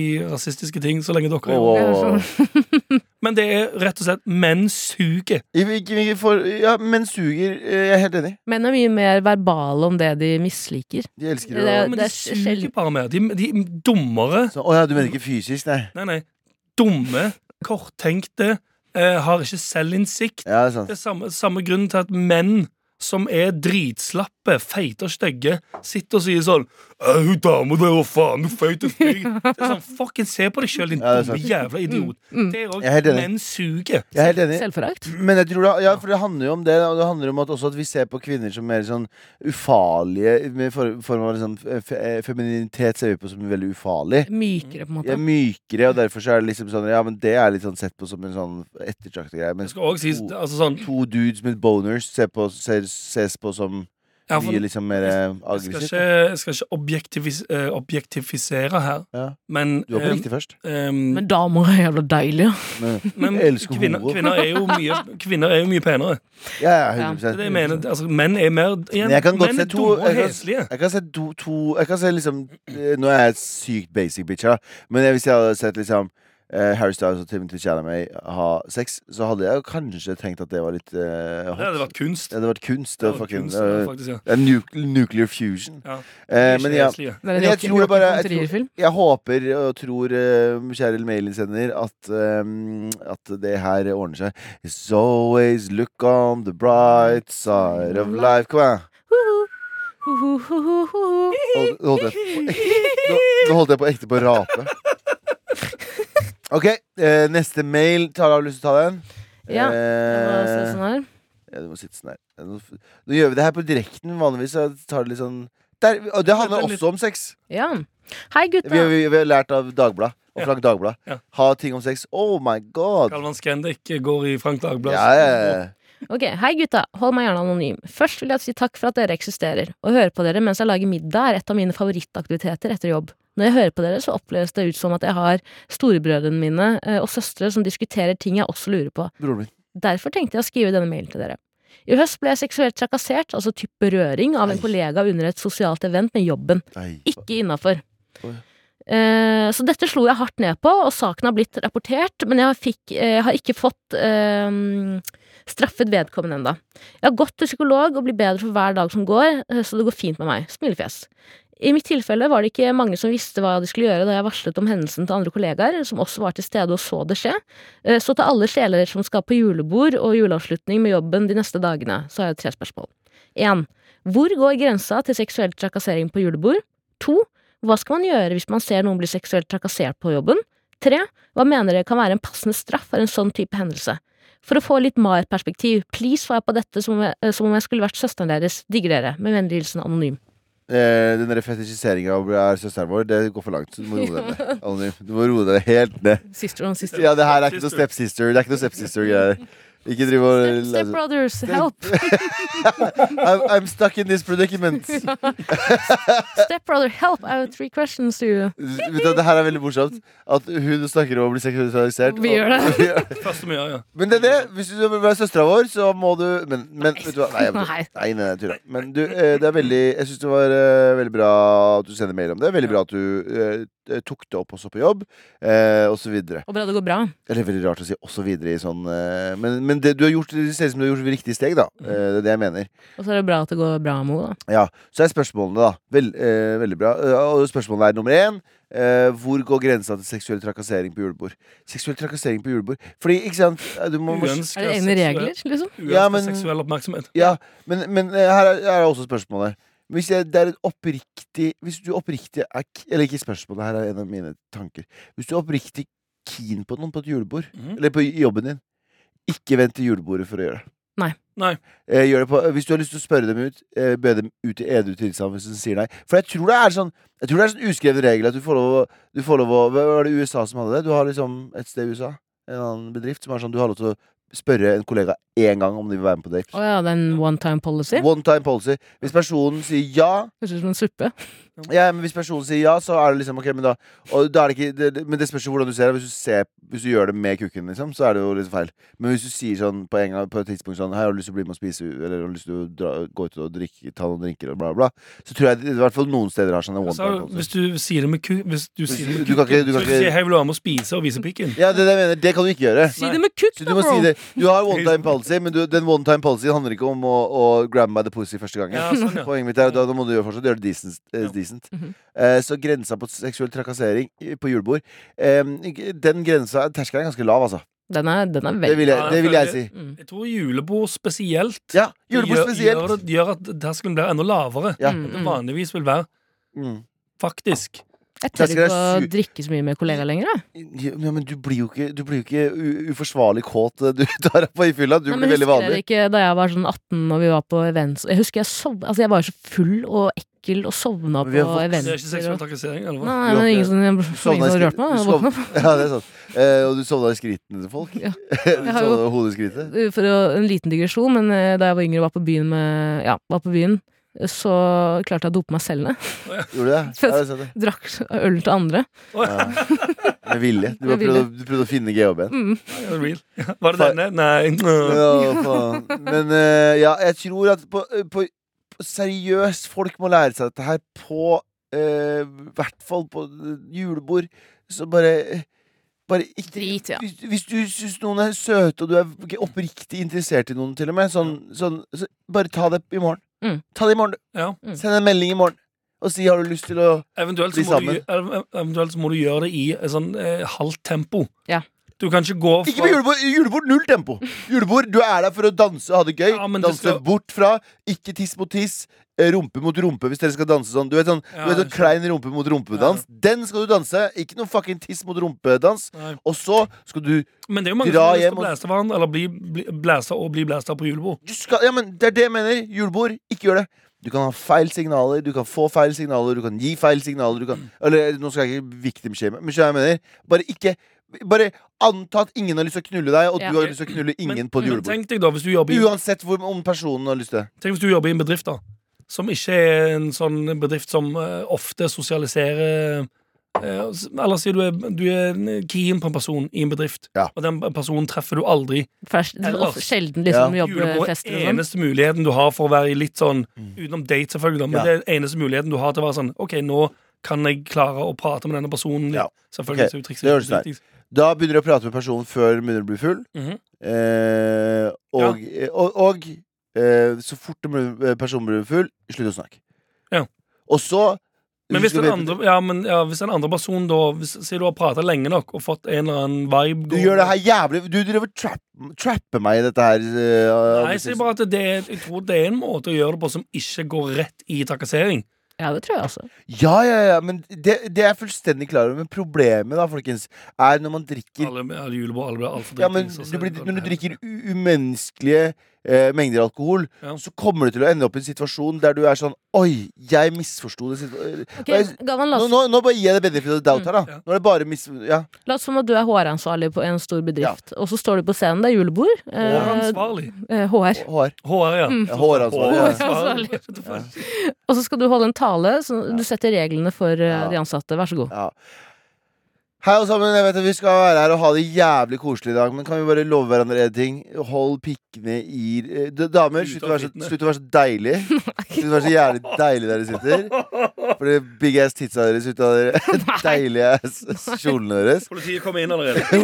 [SPEAKER 3] semirasistiske ting så lenge dere
[SPEAKER 2] Wow,
[SPEAKER 3] gjør
[SPEAKER 2] wow,
[SPEAKER 3] det.
[SPEAKER 4] Jeg
[SPEAKER 2] wow.
[SPEAKER 4] er sånn-
[SPEAKER 3] Men det er rett og slett menn suger.
[SPEAKER 2] I hvilken- hvilken for- Ja, men suger. eh, Jeg er helt enig.
[SPEAKER 4] Menn er mye mer verbale om det de misliker.
[SPEAKER 2] De elsker
[SPEAKER 4] Det
[SPEAKER 2] å
[SPEAKER 4] er-
[SPEAKER 3] Men
[SPEAKER 4] det
[SPEAKER 3] de suger
[SPEAKER 4] sjeld-
[SPEAKER 3] bare mer. De, de dummere
[SPEAKER 2] Så- Å ja, du mener ikke fysisk, nei.
[SPEAKER 3] Nei, nei. Dumme, korttenkte, eh, har ikke selvinnsikt.
[SPEAKER 2] Ja, det er sant.
[SPEAKER 3] Det er samme, samme grunnen til at menn som er dritslappe, feite og stygge, sitter og sier sånn «Æ, 'Hun dama der, hva faen, hun feit og
[SPEAKER 4] [LAUGHS]
[SPEAKER 3] stygg.' Det er sånn, Fucking se på deg sjøl, din
[SPEAKER 2] Ja, det er
[SPEAKER 3] dumme
[SPEAKER 2] sant.
[SPEAKER 3] jævla idiot.
[SPEAKER 4] mm.
[SPEAKER 3] Det er
[SPEAKER 2] Jeg er helt
[SPEAKER 3] òg
[SPEAKER 2] enig.
[SPEAKER 3] Menn suger.
[SPEAKER 2] Jeg er helt enig.
[SPEAKER 4] Selvforakt.
[SPEAKER 2] Men jeg tror det, ja, for det handler jo om det, og det handler om at også at vi ser på kvinner som mer sånn ufarlige Med for, form av liksom, fe, eh, femininitet ser vi på som veldig ufarlig.
[SPEAKER 4] Mykere,
[SPEAKER 2] Jeg
[SPEAKER 4] på en måte.
[SPEAKER 2] er mykere, og derfor så er det liksom sånn Ja, men det er litt sånn sett på som en sånn ettertraktet greie.
[SPEAKER 3] Det
[SPEAKER 2] Mens
[SPEAKER 3] skal også sies,
[SPEAKER 2] to,
[SPEAKER 3] altså sånn
[SPEAKER 2] to dudes med boners ser på, ser, ses på som
[SPEAKER 3] ja, for-
[SPEAKER 2] mye liksom mer eh,
[SPEAKER 3] jeg skal
[SPEAKER 2] aggressivt.
[SPEAKER 3] ikke, jeg skal ikke objektivis, eh, objektifisere her,
[SPEAKER 2] Ja.
[SPEAKER 3] men,
[SPEAKER 2] Du var på riktig først.
[SPEAKER 3] eh, em,
[SPEAKER 4] Men damer er jævla deilige.
[SPEAKER 2] Men,
[SPEAKER 3] men
[SPEAKER 2] [LAUGHS] jeg elsker
[SPEAKER 3] kvinner,
[SPEAKER 2] homo.
[SPEAKER 3] kvinner, er jo mye,
[SPEAKER 4] [LAUGHS]
[SPEAKER 3] kvinner er jo mye penere.
[SPEAKER 2] ja, ja, 100
[SPEAKER 3] Det er det jeg mener. Altså, menn er mer igjen,
[SPEAKER 2] Men jeg kan godt
[SPEAKER 3] Menn
[SPEAKER 2] se
[SPEAKER 3] er
[SPEAKER 2] to-
[SPEAKER 3] dumme og
[SPEAKER 2] jeg kan-
[SPEAKER 3] heslige.
[SPEAKER 2] Jeg kan se to, to Jeg kan se liksom eh, Nå er jeg sykt basic bitch her, da. men hvis jeg hadde sett liksom eh, Harry Styles og Timothy Chalamet ha sex, så hadde jeg jo kanskje tenkt at det var litt eh, hot.
[SPEAKER 3] Det hadde vært kunst.
[SPEAKER 2] Det hadde vært kunst. Det
[SPEAKER 3] Det
[SPEAKER 2] var
[SPEAKER 3] hadde vært
[SPEAKER 2] fucking
[SPEAKER 3] kunst, det hadde
[SPEAKER 2] eh,
[SPEAKER 3] faktisk, ja.
[SPEAKER 2] det er nuk nuclear fusion.
[SPEAKER 3] Ja.
[SPEAKER 2] Eh,
[SPEAKER 3] Ikke
[SPEAKER 2] men ja,
[SPEAKER 3] heslige.
[SPEAKER 4] Det er
[SPEAKER 2] Men jeg
[SPEAKER 4] en
[SPEAKER 2] tror det bare- jeg tror-
[SPEAKER 4] Joakim
[SPEAKER 2] jeg håper og tror, eh, kjære mailinnsender, at, eh, at det her ordner seg. It's always look on the bright side of life. Kom igjen.
[SPEAKER 4] Von-trier-film.
[SPEAKER 2] Hold, holdt jeg, nå, nå holdt jeg på ekte på å rape. OK, eh, neste mail. Tara, har du lyst til å ta den?
[SPEAKER 4] Ja, Jeg må se
[SPEAKER 2] Eh,
[SPEAKER 4] sånn her.
[SPEAKER 2] ja, du må sitte sånn her. Ja, Nå, f- nå gjør vi det her på direkten. Vanligvis så tar det litt sånn der, Og det handler
[SPEAKER 3] Vent litt.
[SPEAKER 2] også om sex.
[SPEAKER 4] Ja. Hei,
[SPEAKER 2] Vi, vi,
[SPEAKER 4] gutta!
[SPEAKER 2] vi har lært av Dagbladet. Og
[SPEAKER 3] Ja.
[SPEAKER 2] Frank Dagblad.
[SPEAKER 3] Ja.
[SPEAKER 2] Ha ting om sex. Oh my god!
[SPEAKER 3] Galvan Scandic går i Frank Dagblad.
[SPEAKER 2] Ja, ja, ja.
[SPEAKER 4] Ok, hei gutta, hold meg gjerne anonym. Først vil jeg si takk for at dere eksisterer. Å høre på dere mens jeg lager middag er et av mine favorittaktiviteter etter jobb. Når jeg hører på dere, så oppleves det ut som at jeg har storebrødrene mine eh, og søstre som diskuterer ting jeg også lurer på.
[SPEAKER 2] Broren min.
[SPEAKER 4] Derfor tenkte jeg å skrive denne mailen til dere. I høst ble jeg seksuelt trakassert, altså type røring, av en
[SPEAKER 2] Ei.
[SPEAKER 4] kollega under et sosialt event med jobben.
[SPEAKER 2] Nei.
[SPEAKER 4] Ikke innafor.
[SPEAKER 2] Oi.
[SPEAKER 4] Eh, så dette slo jeg hardt ned på, og saken har blitt rapportert, men jeg fikk, eh, har ikke fått eh, straffet vedkommende enda. Jeg har gått til psykolog og blir bedre for hver dag som går, eh, så det går fint med meg. Smilefjes. I mitt tilfelle var det ikke mange som visste hva de skulle gjøre da jeg varslet om hendelsen til andre kollegaer, som også var til stede og så det skje. Eh, Så til alle sjeler som skal på julebord og juleavslutning med jobben de neste dagene, så har jeg tre spørsmål. 1. Hvor går grensa til seksuell trakassering på julebord? 2. Hva skal man gjøre hvis man ser noen bli seksuelt trakassert på jobben? 3. Hva mener dere kan være en passende straff for en sånn type hendelse? For å få litt MAR-perspektiv, please svar på dette som om, jeg, eh, som om jeg skulle vært søsteren deres. Digger dere. Med vennlig hilsen Anonym.
[SPEAKER 2] Eh, den fetisjiseringa av er søsteren vår, det går for langt. Så du må roe deg ned.
[SPEAKER 4] [LAUGHS]
[SPEAKER 2] Anonym. Du må roe deg helt ned.
[SPEAKER 4] Sister on sister.
[SPEAKER 2] Ja, det her er ikke noe stepsister. Det er ikke noe stepsister-greier. Ikke driv og
[SPEAKER 4] Step, step
[SPEAKER 2] [LAUGHS]
[SPEAKER 4] brothers, help!
[SPEAKER 2] I'm, I'm stuck in this predicament.
[SPEAKER 4] [LAUGHS] Step brother, help! I have three questions to you.
[SPEAKER 2] Vet du, det her er veldig morsomt. At hun snakker om å bli seksualisert.
[SPEAKER 4] Vi gjør det. [LAUGHS]
[SPEAKER 2] Vi [LAUGHS] gjør det.
[SPEAKER 3] Første vi gjør, ja.
[SPEAKER 2] Men det er det. Hvis du vil være søstera vår, så må du Men, men vet du hva? Nei, jeg vet
[SPEAKER 4] Nei.
[SPEAKER 2] ikke. nei, nei, jeg tuller. Men du, eh, det er veldig Jeg syns det var eh, veldig bra at du sender mail om det. Veldig bra at du eh, tok det opp også på jobb, eh, og så videre.
[SPEAKER 4] Og bra det går bra.
[SPEAKER 2] Eller veldig rart å si også videre i sånn eh, Men, men det du har gjort, det ser ut som du har gjort riktige steg, da. Eh, det er det jeg mener.
[SPEAKER 4] Og så er det bra at det går bra med henne, da.
[SPEAKER 2] Ja, Så er spørsmålene, da. Vel, eh, veldig bra. Eh, og spørsmålet er nummer én. Eh, hvor går grensa til seksuell trakassering på julebord? Seksuell trakassering på julebord Fordi, ikke sant eh, du må, må,
[SPEAKER 4] Er det egne regler, liksom?
[SPEAKER 3] Uønsket
[SPEAKER 2] Ja, men-
[SPEAKER 3] seksuell oppmerksomhet.
[SPEAKER 2] Ja, men, men eh, her, er, her er også spørsmålet. Hvis, jeg, det er et oppriktig, hvis du oppriktig er k- Eller ikke spørsmålet, her er en av mine tanker. Hvis du er oppriktig keen på noen på et julebord,
[SPEAKER 3] Mhm.
[SPEAKER 2] eller på jobben din, ikke vent til julebordet for å gjøre det.
[SPEAKER 4] Nei.
[SPEAKER 3] Nei.
[SPEAKER 2] Eh, gjør det på, hvis du har lyst til å spørre dem ut, eh, be dem ut i edru tilstand hvis de sier nei. For jeg tror det er sånn Jeg tror det er sånn uskreven regel at du får lov å du får lov å hva Var det USA som hadde det? Du har liksom et sted i USA, en annen bedrift, som er sånn du har lov til å spørre en kollega én gang om de vil være med på date.
[SPEAKER 4] Å ja, det er en one time policy?
[SPEAKER 2] One time policy. Hvis personen sier ja,
[SPEAKER 4] Høres ut som en suppe.
[SPEAKER 2] Ja, men Hvis personen sier ja, så er det liksom ok, men da, og da er det ikke, det, det, Men det spørs jo hvordan du ser det. Hvis du, ser, hvis du gjør det med kukken, liksom, så er det jo litt feil. Men hvis du sier sånn på, en gang, på et tidspunkt sånn Hei, har du lyst til å bli med og spise, eller har du lyst til å dra, gå ut og drikke, ta noen drinker, og bla, bla, så tror jeg det- i hvert fall noen steder har sånne one
[SPEAKER 3] Altså,
[SPEAKER 2] time
[SPEAKER 3] hvis
[SPEAKER 2] concerts.
[SPEAKER 3] du sier det med ku... Hvis du sier det med
[SPEAKER 2] du kan ikke- du
[SPEAKER 3] kukken,
[SPEAKER 2] kan
[SPEAKER 3] så hvis du
[SPEAKER 2] ikke-
[SPEAKER 3] sier 'hei, vil du være med og spise', og vise pikken
[SPEAKER 2] Ja, det, er det jeg mener, det kan du ikke gjøre.
[SPEAKER 4] Si det med kukk,
[SPEAKER 2] Så du
[SPEAKER 4] da,
[SPEAKER 2] må si
[SPEAKER 4] bro!
[SPEAKER 2] det. Du har one time policy, men du, den one time policy handler ikke om å, å grab by the pussy første gangen.
[SPEAKER 3] Ja, sånn, ja.
[SPEAKER 2] [LAUGHS] Poenget mitt er da, da må du gjøre fortsatt gjøre det decent. eh,
[SPEAKER 3] Ja.
[SPEAKER 2] decent.
[SPEAKER 4] Mhm.
[SPEAKER 2] Eh, så grensa på seksuell trakassering i- på julebord eh, Den grensa, terskelen er ganske lav, altså.
[SPEAKER 4] Den er, den er
[SPEAKER 2] Det
[SPEAKER 4] veldig
[SPEAKER 2] vil
[SPEAKER 3] Ja,
[SPEAKER 2] jeg, det vil jeg si.
[SPEAKER 3] selvfølgelig.
[SPEAKER 4] mm.
[SPEAKER 3] Jeg tror julebord spesielt
[SPEAKER 2] Ja, julebord
[SPEAKER 3] gjør-
[SPEAKER 2] spesielt.
[SPEAKER 3] Gjør, det- gjør at terskelen blir enda lavere
[SPEAKER 2] Ja.
[SPEAKER 4] Mm,
[SPEAKER 3] enn det
[SPEAKER 4] mm.
[SPEAKER 3] vanligvis vil være.
[SPEAKER 2] Mm.
[SPEAKER 3] Faktisk.
[SPEAKER 2] Jeg
[SPEAKER 4] Jeg tør
[SPEAKER 2] skal
[SPEAKER 4] ikke å
[SPEAKER 2] være su-
[SPEAKER 4] drikke så mye med kollegaer lenger. Jeg.
[SPEAKER 2] Ja, men du blir jo ikke, du blir jo ikke u uforsvarlig kåt eh, du [LAUGHS] tar deg på i fylla. Du
[SPEAKER 4] Nei, men
[SPEAKER 2] blir veldig
[SPEAKER 4] husker
[SPEAKER 2] vanlig.
[SPEAKER 4] dere ikke da jeg var sånn 18 og vi var på events Jeg husker jeg sov, altså jeg var så full og ekkel og sovna
[SPEAKER 2] Men vi er voksne,
[SPEAKER 3] Det
[SPEAKER 4] på
[SPEAKER 3] er ikke
[SPEAKER 4] eventer.
[SPEAKER 3] seksuell
[SPEAKER 4] Og...
[SPEAKER 3] trakassering, eller hva?
[SPEAKER 4] Nei, men ingen som, ingen som
[SPEAKER 2] Sovna i skri-
[SPEAKER 4] rørte meg.
[SPEAKER 2] du
[SPEAKER 4] Jeg våkna
[SPEAKER 2] sov- [LAUGHS] Ja, det er sant. Eh, og du sovna i skrittene til folk? [LAUGHS]
[SPEAKER 4] Ja.
[SPEAKER 2] du
[SPEAKER 4] har jo-
[SPEAKER 2] sovna i hodeskrittet?
[SPEAKER 4] Uh, for å, en liten digresjon, men eh, da jeg var yngre og var på byen, med, ja, var på byen så klarte jeg å dope meg selv ned. [LAUGHS]
[SPEAKER 2] Gjorde du det? Ja, det er sant, det.
[SPEAKER 4] Drakk øl til andre.
[SPEAKER 2] Ja. Med vilje. Du, bare
[SPEAKER 4] Med vilje.
[SPEAKER 2] prøvde, å- du prøvde å finne GHB-en.
[SPEAKER 4] Mm.
[SPEAKER 3] Ja, det er real. [LAUGHS] Ja, Var det denne? Nei.
[SPEAKER 2] Ja, faen. Men eh, ja, jeg tror at på, eh, på, på Seriøst, folk må lære seg dette her på eh, hvert fall på eh, julebord. Så bare Bare ikke
[SPEAKER 4] Drit, ja.
[SPEAKER 2] Hvis, hvis du syns noen er søte, og du er ikke oppriktig interessert i noen, til og med, sånn, sånn så bare ta det i morgen.
[SPEAKER 4] Mm.
[SPEAKER 2] Ta det i morgen. du.
[SPEAKER 3] Ja.
[SPEAKER 4] Mm.
[SPEAKER 2] Send en melding i morgen og si 'har du lyst til å
[SPEAKER 3] Eventuelt
[SPEAKER 2] Bli
[SPEAKER 3] så, må du,
[SPEAKER 2] sammen.
[SPEAKER 3] gjø- eventuelt så må du gjøre det i et sånn eh, halvt tempo.
[SPEAKER 4] Ja.
[SPEAKER 3] Du kan ikke gå
[SPEAKER 2] Ikke på
[SPEAKER 3] fra
[SPEAKER 2] julebord. Julebord, null tempo. Julebord, Du er der for å danse og ha det gøy.
[SPEAKER 3] Ja, men det
[SPEAKER 2] danse
[SPEAKER 3] skal-
[SPEAKER 2] bort fra. Ikke tiss mot tiss. eh, Rumpe mot rumpe, hvis dere skal danse sånn. Du vet sånn,
[SPEAKER 3] Ja,
[SPEAKER 2] du vet sånn
[SPEAKER 3] jeg
[SPEAKER 2] klein rumpe mot rumpedans. Den skal du danse. Ikke noe fucking tiss mot rumpedans.
[SPEAKER 3] Nei.
[SPEAKER 2] Og så skal du
[SPEAKER 3] Men det er jo mange
[SPEAKER 2] Dra
[SPEAKER 3] som har lyst
[SPEAKER 2] hjem
[SPEAKER 3] til
[SPEAKER 2] og-
[SPEAKER 3] å blæste hverandre, eller bli, bli blæsta og bli blæsta på julebord.
[SPEAKER 2] du skal, Ja, men det er det jeg mener. Julebord, ikke gjør det. Du kan ha feil signaler, du kan få feil signaler, du kan gi feil signaler du kan, Eller nå skal jeg ikke victim-shame, men skjønner jeg hva jeg mener. Bare ikke Bare anta at ingen har lyst til å knulle deg, og
[SPEAKER 4] Ja.
[SPEAKER 2] du har lyst til å knulle ingen
[SPEAKER 3] Men,
[SPEAKER 2] på et
[SPEAKER 3] men
[SPEAKER 2] julebord.
[SPEAKER 3] tenk deg da, hvis du jobber i
[SPEAKER 2] Uansett hvor, om personen har lyst til det.
[SPEAKER 3] Tenk hvis du jobber i en bedrift da Som ikke er en sånn bedrift som eh, ofte sosialiserer eh, s- Eller sier du er, du er en keen på en person i en bedrift
[SPEAKER 2] Ja.
[SPEAKER 3] Og den personen treffer du aldri
[SPEAKER 4] For det er
[SPEAKER 3] Ellers-
[SPEAKER 4] ofte sjelden liksom
[SPEAKER 2] Ja.
[SPEAKER 3] Julebord er
[SPEAKER 4] jobbefester og sånn.
[SPEAKER 3] eneste muligheten du har for å være i litt sånn
[SPEAKER 2] Mm.
[SPEAKER 3] Utenom date selvfølgelig da,
[SPEAKER 2] Ja.
[SPEAKER 3] Men det er eneste muligheten du har til å være sånn Ok, nå kan jeg klare å prate med denne personen litt.
[SPEAKER 2] Ja. Ok,
[SPEAKER 3] Selvfølgelig så er jo trikset
[SPEAKER 2] det høres
[SPEAKER 3] litt viktig.
[SPEAKER 2] Da begynner du å prate med personen før munnen blir full.
[SPEAKER 3] Mhm.
[SPEAKER 2] Eh, og og, og eh, så fort den blir- eh, personen blir full, slutt å snakke.
[SPEAKER 3] Ja.
[SPEAKER 2] Og så
[SPEAKER 3] Men hvis
[SPEAKER 2] husk å
[SPEAKER 3] den
[SPEAKER 2] vite-
[SPEAKER 3] andre, ja, men, ja, hvis den andre personen da hvis, Sier du har pratet lenge nok Og fått en eller annen vibe
[SPEAKER 2] Du
[SPEAKER 3] gående-
[SPEAKER 2] gjør det her jævlig Du driver og trap, trapper meg i dette her. eh,
[SPEAKER 3] Nei, jeg sier bare at det er, jeg tror det er en måte å gjøre det på som ikke går rett i trakassering.
[SPEAKER 4] Ja, det tror jeg altså.
[SPEAKER 2] Ja, ja, ja, men det, det er jeg fullstendig klar over. Men problemet, da, folkens, er når man drikker
[SPEAKER 3] Alle, alle julebord, alle blir altfor
[SPEAKER 2] Ja, men
[SPEAKER 3] dritings,
[SPEAKER 2] du
[SPEAKER 3] altså.
[SPEAKER 2] blir, når du drikker u- umenneskelige eh, mengder alkohol,
[SPEAKER 3] Ja.
[SPEAKER 2] så kommer du til å ende opp i en situasjon der du er sånn Oi, jeg misforsto det situ-
[SPEAKER 4] Ok,
[SPEAKER 2] Jeg-
[SPEAKER 4] Gavan, la
[SPEAKER 2] Nå,
[SPEAKER 4] oss,
[SPEAKER 2] nå, nå bare gir jeg deg benefit of the doubt her, da.
[SPEAKER 3] Ja.
[SPEAKER 2] Nå er det bare mis... Ja.
[SPEAKER 4] la oss som at du er HR-ansvarlig på en stor bedrift, og så står du på scenen, det er julebord. eh,
[SPEAKER 3] Håransvarlig.
[SPEAKER 4] eh, HR.
[SPEAKER 2] Hår.
[SPEAKER 3] HR, ja.
[SPEAKER 4] Mm.
[SPEAKER 2] Ja, Håransvarlig.
[SPEAKER 4] Hår.
[SPEAKER 2] Ja.
[SPEAKER 4] Håransvarlig. Og så skal du holde en tale, så du setter reglene for eh,
[SPEAKER 2] Ja.
[SPEAKER 4] de ansatte. Vær så god.
[SPEAKER 2] Ja. Hei, alle sammen. Jeg vet at vi skal være her og ha det jævlig koselig i dag, men kan vi bare love hverandre en ting? Hold pikkene i eh, d- Damer,
[SPEAKER 3] Ut
[SPEAKER 2] slutt å
[SPEAKER 3] av
[SPEAKER 2] være så,
[SPEAKER 3] fittene.
[SPEAKER 2] slutt å være så deilig. Slutt å være så jævlig deilig der dere sitter. For det big ass titsa deres ut av dere deilige ass kjolene deres.
[SPEAKER 3] Politiet kommer inn allerede. Ja, de er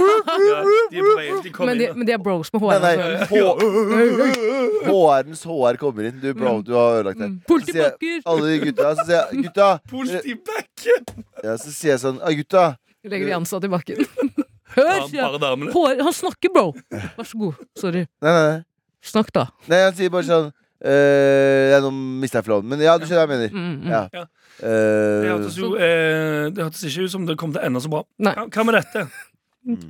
[SPEAKER 3] på vei inn. De kommer
[SPEAKER 4] Men de,
[SPEAKER 3] inn.
[SPEAKER 4] men de er bros med altså.
[SPEAKER 2] Nei, nei.
[SPEAKER 4] HR-ansvarlig.
[SPEAKER 2] HR-ens HR kommer inn. Du, bro, du har ødelagt
[SPEAKER 4] Mm.
[SPEAKER 2] det. Så sier jeg-
[SPEAKER 4] Politibakker!
[SPEAKER 2] Alle de gutta. Så sier jeg, gutta
[SPEAKER 3] Politibacken!
[SPEAKER 2] Ja, så sier jeg sånn «Ah, Gutta,
[SPEAKER 4] Legger de ansatte i
[SPEAKER 2] [LAUGHS]
[SPEAKER 4] bakken. Hør,
[SPEAKER 3] Ja,
[SPEAKER 4] sier jeg.
[SPEAKER 3] bare damene.
[SPEAKER 4] Hår, han snakker, bro! Vær så god. Sorry.
[SPEAKER 2] nei, nei, nei.
[SPEAKER 4] Snakk, da.
[SPEAKER 2] nei Han sier bare sånn «Eh, ja, Nå mista jeg flowen, men ja, du skjønner hva jeg mener.
[SPEAKER 4] Mm, mm.
[SPEAKER 2] Ja.
[SPEAKER 3] Ja. Det
[SPEAKER 2] Eh,
[SPEAKER 3] hørtes, jo, eh, det hørtes ikke ut som det kom til å ende så bra.
[SPEAKER 4] Nei.
[SPEAKER 3] Hva- Hva med dette?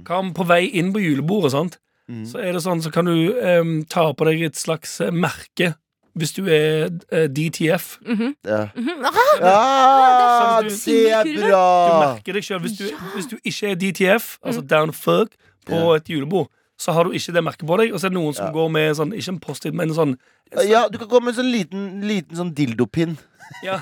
[SPEAKER 3] Hva om på vei inn på julebordet, sant?
[SPEAKER 2] Mm.
[SPEAKER 3] så er det sånn, så kan du em, ta på deg et slags eh, merke hvis du er eh, DTF.
[SPEAKER 2] ja.
[SPEAKER 3] Mm-hmm.
[SPEAKER 4] Mhm.
[SPEAKER 3] [LAUGHS]
[SPEAKER 2] Ja,
[SPEAKER 3] sånn du-
[SPEAKER 2] det er
[SPEAKER 3] Du
[SPEAKER 2] bra!
[SPEAKER 3] merker deg selv hvis, du- hvis du ikke er DTF, altså
[SPEAKER 4] Mm.
[SPEAKER 3] down fuck, på et julebord, så har du ikke det merket på deg. Og så er det noen som
[SPEAKER 2] Ja.
[SPEAKER 3] går med sånn, ikke en post-it, men en sånn
[SPEAKER 2] Ja, du kan gå med en sånn liten, liten sånn dildopinn. [LAUGHS]
[SPEAKER 3] Ja,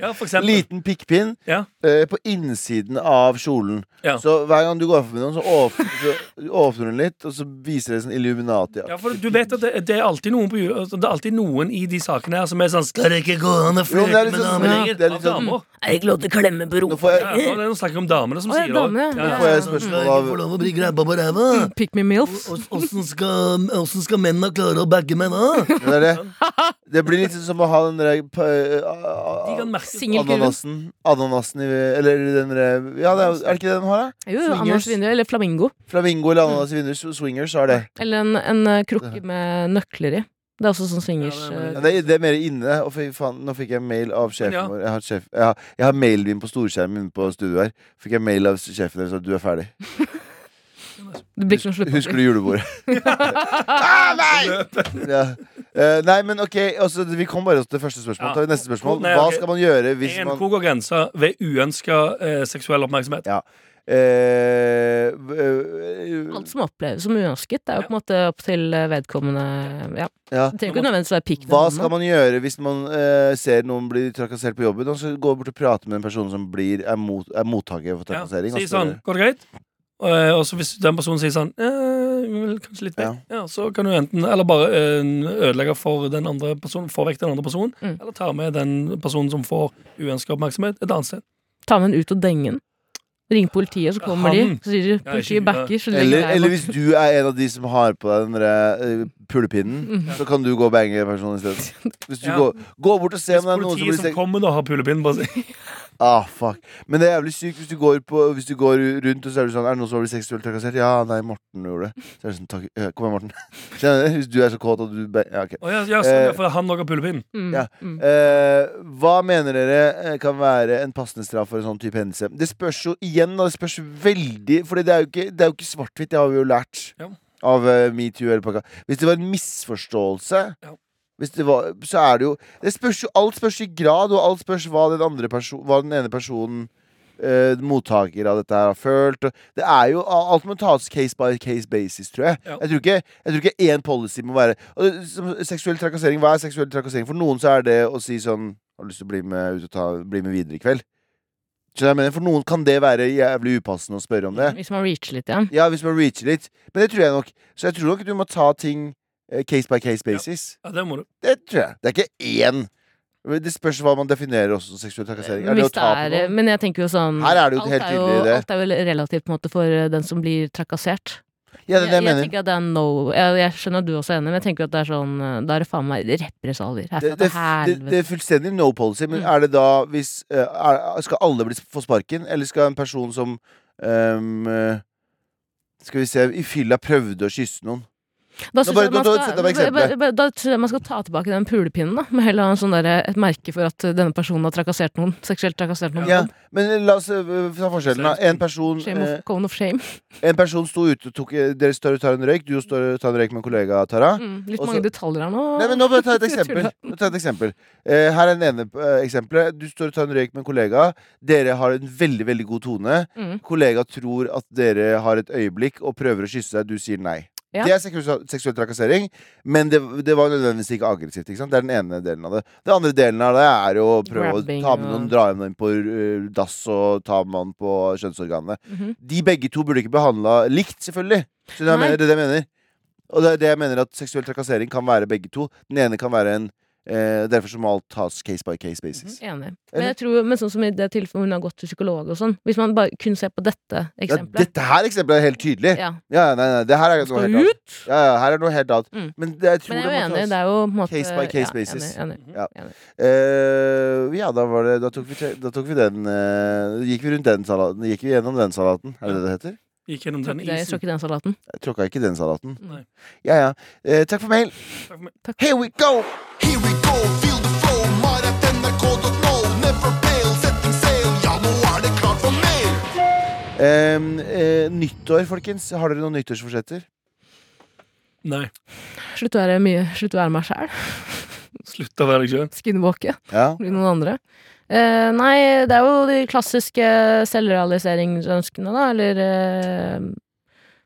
[SPEAKER 3] ja for eksempel.
[SPEAKER 2] Liten pikkpinn
[SPEAKER 3] Ja.
[SPEAKER 2] eh, på innsiden av kjolen.
[SPEAKER 3] Ja.
[SPEAKER 2] Så hver gang du går forbi noen, så åpner, så åpner hun litt, og så viser det sånn Illuminati.
[SPEAKER 3] Ja, for du vet at det, det, er alltid noen på, jul- altså, det er alltid noen i de sakene her som er sånn Skal det ikke gå an
[SPEAKER 2] Jo, men
[SPEAKER 3] å flørte
[SPEAKER 2] det er litt
[SPEAKER 3] med
[SPEAKER 2] sånn-
[SPEAKER 3] damer
[SPEAKER 2] ja,
[SPEAKER 3] lenger?
[SPEAKER 2] det er litt
[SPEAKER 3] Av
[SPEAKER 2] sånn-
[SPEAKER 3] damer.
[SPEAKER 4] Er det ikke lov til å klemme på
[SPEAKER 2] Nå får
[SPEAKER 3] Ja,
[SPEAKER 2] jeg,
[SPEAKER 3] nå er det noen snakker om damene som
[SPEAKER 4] Å, ja,
[SPEAKER 3] sier det. også.
[SPEAKER 4] damene, ja.
[SPEAKER 2] nå får jeg spørsmål av
[SPEAKER 3] lov å bli grabba på ræva.
[SPEAKER 4] Pick me milf.
[SPEAKER 3] Åssen skal, mennene klare å bagge menn, da?
[SPEAKER 2] det, er det. [LAUGHS] det blir litt som å ha den der pa-
[SPEAKER 3] Sånn. De kan
[SPEAKER 2] eh,
[SPEAKER 3] merke
[SPEAKER 4] Singel- Singelkurven.
[SPEAKER 2] Ananasen. Ananasen i Eller den der Ja, det er, er det ikke det den har, da?
[SPEAKER 4] Jo, jo, Anders
[SPEAKER 2] Swingers.
[SPEAKER 4] Vindu, eller flamingo.
[SPEAKER 2] Flamingo eller
[SPEAKER 3] Mm.
[SPEAKER 2] ananas i vinduet. sw- Swingers har det.
[SPEAKER 4] Eller en, en eh, krukke med nøkler i. Det er også sånn swingers.
[SPEAKER 3] Ja, det er-
[SPEAKER 4] eh,
[SPEAKER 2] Ja, det, er- det er mer inne. Og fy faen, nå fikk jeg mail av sjefen
[SPEAKER 3] Men ja.
[SPEAKER 2] vår. Jeg har, sjef, jeg har, jeg har mailen min på storskjermen inne på studio her. Fikk jeg mail av sjefen deres at du er ferdig.
[SPEAKER 4] Det blir ikke noe slutt.
[SPEAKER 2] Husker du
[SPEAKER 3] [LAUGHS]
[SPEAKER 2] julebordet? ah, nei! Ja. Eh, nei, men ok, altså, vi kom bare til første spørsmål.
[SPEAKER 3] Ja.
[SPEAKER 2] Tar vi neste spørsmål.
[SPEAKER 3] Nei,
[SPEAKER 2] Hva
[SPEAKER 3] ok.
[SPEAKER 2] skal man gjøre hvis
[SPEAKER 3] En
[SPEAKER 2] man
[SPEAKER 3] hvor går grensa ved uønska eh, seksuell oppmerksomhet?
[SPEAKER 2] Eh, v- eh,
[SPEAKER 4] Alt som oppleves som uønsket, det er jo på en måte opp til eh, vedkommende Ja.
[SPEAKER 2] ja.
[SPEAKER 4] Det trenger ikke nødvendigvis være pikk.
[SPEAKER 2] Hva skal man gjøre hvis man eh, ser noen bli trakassert på jobben? Og så gå bort og prate med en person som blir, er, mot, er mottaker for
[SPEAKER 3] Ja.
[SPEAKER 2] trakassering. altså,
[SPEAKER 3] Si
[SPEAKER 2] og så-
[SPEAKER 3] sånn, går det greit? Eh, og så hvis den personen sier sånn eh, vel, Kanskje litt vekk. Ja. så kan du enten Eller bare eh, ødelegge for den andre personen, få vekk den andre personen,
[SPEAKER 4] Mm.
[SPEAKER 3] eller ta med den personen som får uønska oppmerksomhet, et annet sted.
[SPEAKER 4] Ta med den ut og denge den. Ring politiet, så kommer de.
[SPEAKER 3] Han.
[SPEAKER 4] Så sier de
[SPEAKER 3] Ja, ikke-
[SPEAKER 4] politiet backer. Så legger
[SPEAKER 2] Eller,
[SPEAKER 4] jeg
[SPEAKER 2] eller
[SPEAKER 4] bak-
[SPEAKER 2] hvis du er en av de som har på deg den derre eh, pulepinnen,
[SPEAKER 4] Mhm.
[SPEAKER 2] så kan du gå og bange personen
[SPEAKER 4] [LAUGHS]
[SPEAKER 2] isteden. Hvis du
[SPEAKER 3] Ja.
[SPEAKER 2] går, gå bort og se
[SPEAKER 3] Hvis
[SPEAKER 2] om det er noen som
[SPEAKER 3] politiet
[SPEAKER 2] blir
[SPEAKER 3] som
[SPEAKER 2] stek...
[SPEAKER 3] kommer da, har pulepinn, bare
[SPEAKER 2] [LAUGHS]
[SPEAKER 3] si
[SPEAKER 2] Ah, fuck. Men det er jævlig sykt hvis du går, på, hvis du går rundt og så er du sånn Er det noen som har blitt seksuelt trakassert? Ja, nei, Morten gjorde det. Så er det sånn, takk, eh, kom igjen, Morten. [LAUGHS] Skjønner du? Hvis du er så kåt at du ba- Ja, ok.
[SPEAKER 3] Å ja, ja, sånn, ja,
[SPEAKER 2] Eh.
[SPEAKER 3] for han òg har pulepinn.
[SPEAKER 4] Mm,
[SPEAKER 2] ja.
[SPEAKER 4] mm.
[SPEAKER 2] Eh, hva mener dere eh, kan være en passende straff for en sånn type hendelse? Det spørs jo igjen, da. Det spørs veldig Fordi det er jo ikke, det er jo ikke svart-hvitt. Det har vi jo lært
[SPEAKER 3] Ja.
[SPEAKER 2] av eh, metoo eller pakka. Hvis det var en misforståelse
[SPEAKER 3] Ja.
[SPEAKER 2] hvis det var, så er det jo Det spørs jo Alt spørs i grad, og alt spørs hva den, andre perso hva den ene personen eh, mottaker av dette her har følt. Og det er jo Alt må tas case by case basis, tror jeg.
[SPEAKER 3] Ja.
[SPEAKER 2] Jeg tror ikke jeg tror ikke én policy må være og, det- som- Seksuell trakassering, Hva er seksuell trakassering? For noen så er det å si sånn Har du lyst til å bli med ut og ta, bli med videre i kveld? Skjønner du hva jeg mener? For noen kan det være jævlig upassende å spørre om det.
[SPEAKER 4] Hvis man reacher litt igjen.
[SPEAKER 2] Ja, hvis man reacher litt. Men det tror jeg nok. Så jeg tror nok du må ta ting eh, case by case basis.
[SPEAKER 3] Ja, det må du.
[SPEAKER 2] Det tror jeg. Det er ikke én. Det spørs hva man definerer også som seksuell trakassering. Er
[SPEAKER 4] Men,
[SPEAKER 2] det å
[SPEAKER 4] hvis det
[SPEAKER 2] ta på
[SPEAKER 4] er,
[SPEAKER 2] noen?
[SPEAKER 4] men jeg tenker jo sånn
[SPEAKER 2] Her er det jo
[SPEAKER 4] alt,
[SPEAKER 2] helt
[SPEAKER 4] er jo,
[SPEAKER 2] tydelig det.
[SPEAKER 4] alt er vel relativt på en måte for eh, den som blir trakassert.
[SPEAKER 2] Ja, det er det jeg mener.
[SPEAKER 4] eh, tenker at det er no jeg, jeg skjønner at du også er enig, men jeg tenker at det er sånn eh, Da er det faen meg represalier. Herfra
[SPEAKER 2] Det, det, det, det
[SPEAKER 4] til helvete.
[SPEAKER 2] er fullstendig no policy, men
[SPEAKER 4] Altså, Mm.
[SPEAKER 2] er det da hvis eh, er, Skal alle bli, få sparken, eller skal en person som ehm, eh, Skal vi se I fylla prøvde å kysse noen.
[SPEAKER 4] Da syns
[SPEAKER 2] bare-
[SPEAKER 4] jeg
[SPEAKER 2] da-
[SPEAKER 4] man
[SPEAKER 2] da-
[SPEAKER 4] skal-
[SPEAKER 2] sett deg med
[SPEAKER 4] bare-
[SPEAKER 2] eksempelet.
[SPEAKER 4] bare- bare- da synes jeg man skal ta tilbake den pulepinnen, da. Med heller ha en sånn derre- et merke for at eh, denne personen har trakassert noen. Seksuelt trakassert noen.
[SPEAKER 2] Ja, men la oss eh, ta forskjellen, da. En person,
[SPEAKER 4] Shame
[SPEAKER 2] eh,
[SPEAKER 4] of, cone of shame.
[SPEAKER 2] en person sto ute og tok eh, Dere står og tar en røyk. Du står og tar en røyk med en kollega, Tara.
[SPEAKER 4] Mm, litt
[SPEAKER 2] og så-
[SPEAKER 4] mange detaljer her nå.
[SPEAKER 2] Nei, men Nå bare ta et
[SPEAKER 4] [LAUGHS] Jeg
[SPEAKER 2] eksempel.
[SPEAKER 4] tuller.
[SPEAKER 2] Nå ta et eksempel. Eh, her er den ene eh, eksempelet. Du står og tar en røyk med en kollega. Dere har en veldig veldig god tone.
[SPEAKER 4] Mm.
[SPEAKER 2] Kollega tror at dere har et øyeblikk og prøver å kysse deg. Du sier nei.
[SPEAKER 4] Ja.
[SPEAKER 2] Det er seksuell, seksuell trakassering, men det, det var nødvendigvis ikke aggressivt. Ikke sant? Det er den ene delen av det. Den andre delen av det er jo å prøve å
[SPEAKER 4] Grabbing
[SPEAKER 2] ta med noen,
[SPEAKER 4] og-
[SPEAKER 2] dra med noen på eh, dass og ta med noen på kjønnsorganene.
[SPEAKER 4] Mhm.
[SPEAKER 2] De begge to burde ikke behandla likt, selvfølgelig. Skjønner du hva jeg
[SPEAKER 4] Nei.
[SPEAKER 2] mener? Det er det jeg mener. Og det er det jeg mener at seksuell trakassering kan være begge to. Den ene kan være en eh, Derfor så må alt tas case by case basis.
[SPEAKER 4] Enig. Men
[SPEAKER 2] Eller?
[SPEAKER 4] jeg tror, men sånn som i det tilfellet hvor hun har gått til psykolog og sånn Hvis man bare kun ser på dette
[SPEAKER 2] Ja,
[SPEAKER 4] eksempelet
[SPEAKER 2] dette her eksempelet er helt tydelig.
[SPEAKER 4] Ja.
[SPEAKER 2] Ja, nei, nei, det her er noe
[SPEAKER 4] Skal
[SPEAKER 2] helt
[SPEAKER 4] ut!
[SPEAKER 2] annet. Ja, ja, her er noe helt annet.
[SPEAKER 4] Mm.
[SPEAKER 2] Men det, jeg tror
[SPEAKER 4] Men jeg er jo
[SPEAKER 2] det må
[SPEAKER 4] enig.
[SPEAKER 2] tas
[SPEAKER 4] Det er jo på en måte
[SPEAKER 2] case by case
[SPEAKER 4] ja,
[SPEAKER 2] basis.
[SPEAKER 4] Enig, enig.
[SPEAKER 2] Eh, ja, da var det Da tok vi, te- da tok vi den eh, Gikk vi rundt den salaten Gikk vi gjennom den salaten Er det det det heter?
[SPEAKER 3] Gikk gjennom den
[SPEAKER 4] Jeg
[SPEAKER 3] isen.
[SPEAKER 4] tror ikke den salaten.
[SPEAKER 2] Jeg tråkka ikke den salaten
[SPEAKER 4] Mm.
[SPEAKER 3] Nei.
[SPEAKER 2] Ja, ja Eh, Takk for mail
[SPEAKER 3] Takk for meg.
[SPEAKER 2] Here we go
[SPEAKER 5] Here we go, feel the flow, maratnrk.no. Never fail, setting sail. Ja, nå er det klart for mer.
[SPEAKER 2] Eh, eh, Nyttår, folkens Har dere noen nyttårsforsetter?
[SPEAKER 3] Nei.
[SPEAKER 4] Slutt å være mye Slutt å være meg sjæl.
[SPEAKER 3] Slutt å være deg sjøl.
[SPEAKER 4] Skinwalke.
[SPEAKER 2] Ja
[SPEAKER 4] Bli noen andre. Eh, nei, det er jo de klassiske selvrealiseringsønskene, da. Eller eh,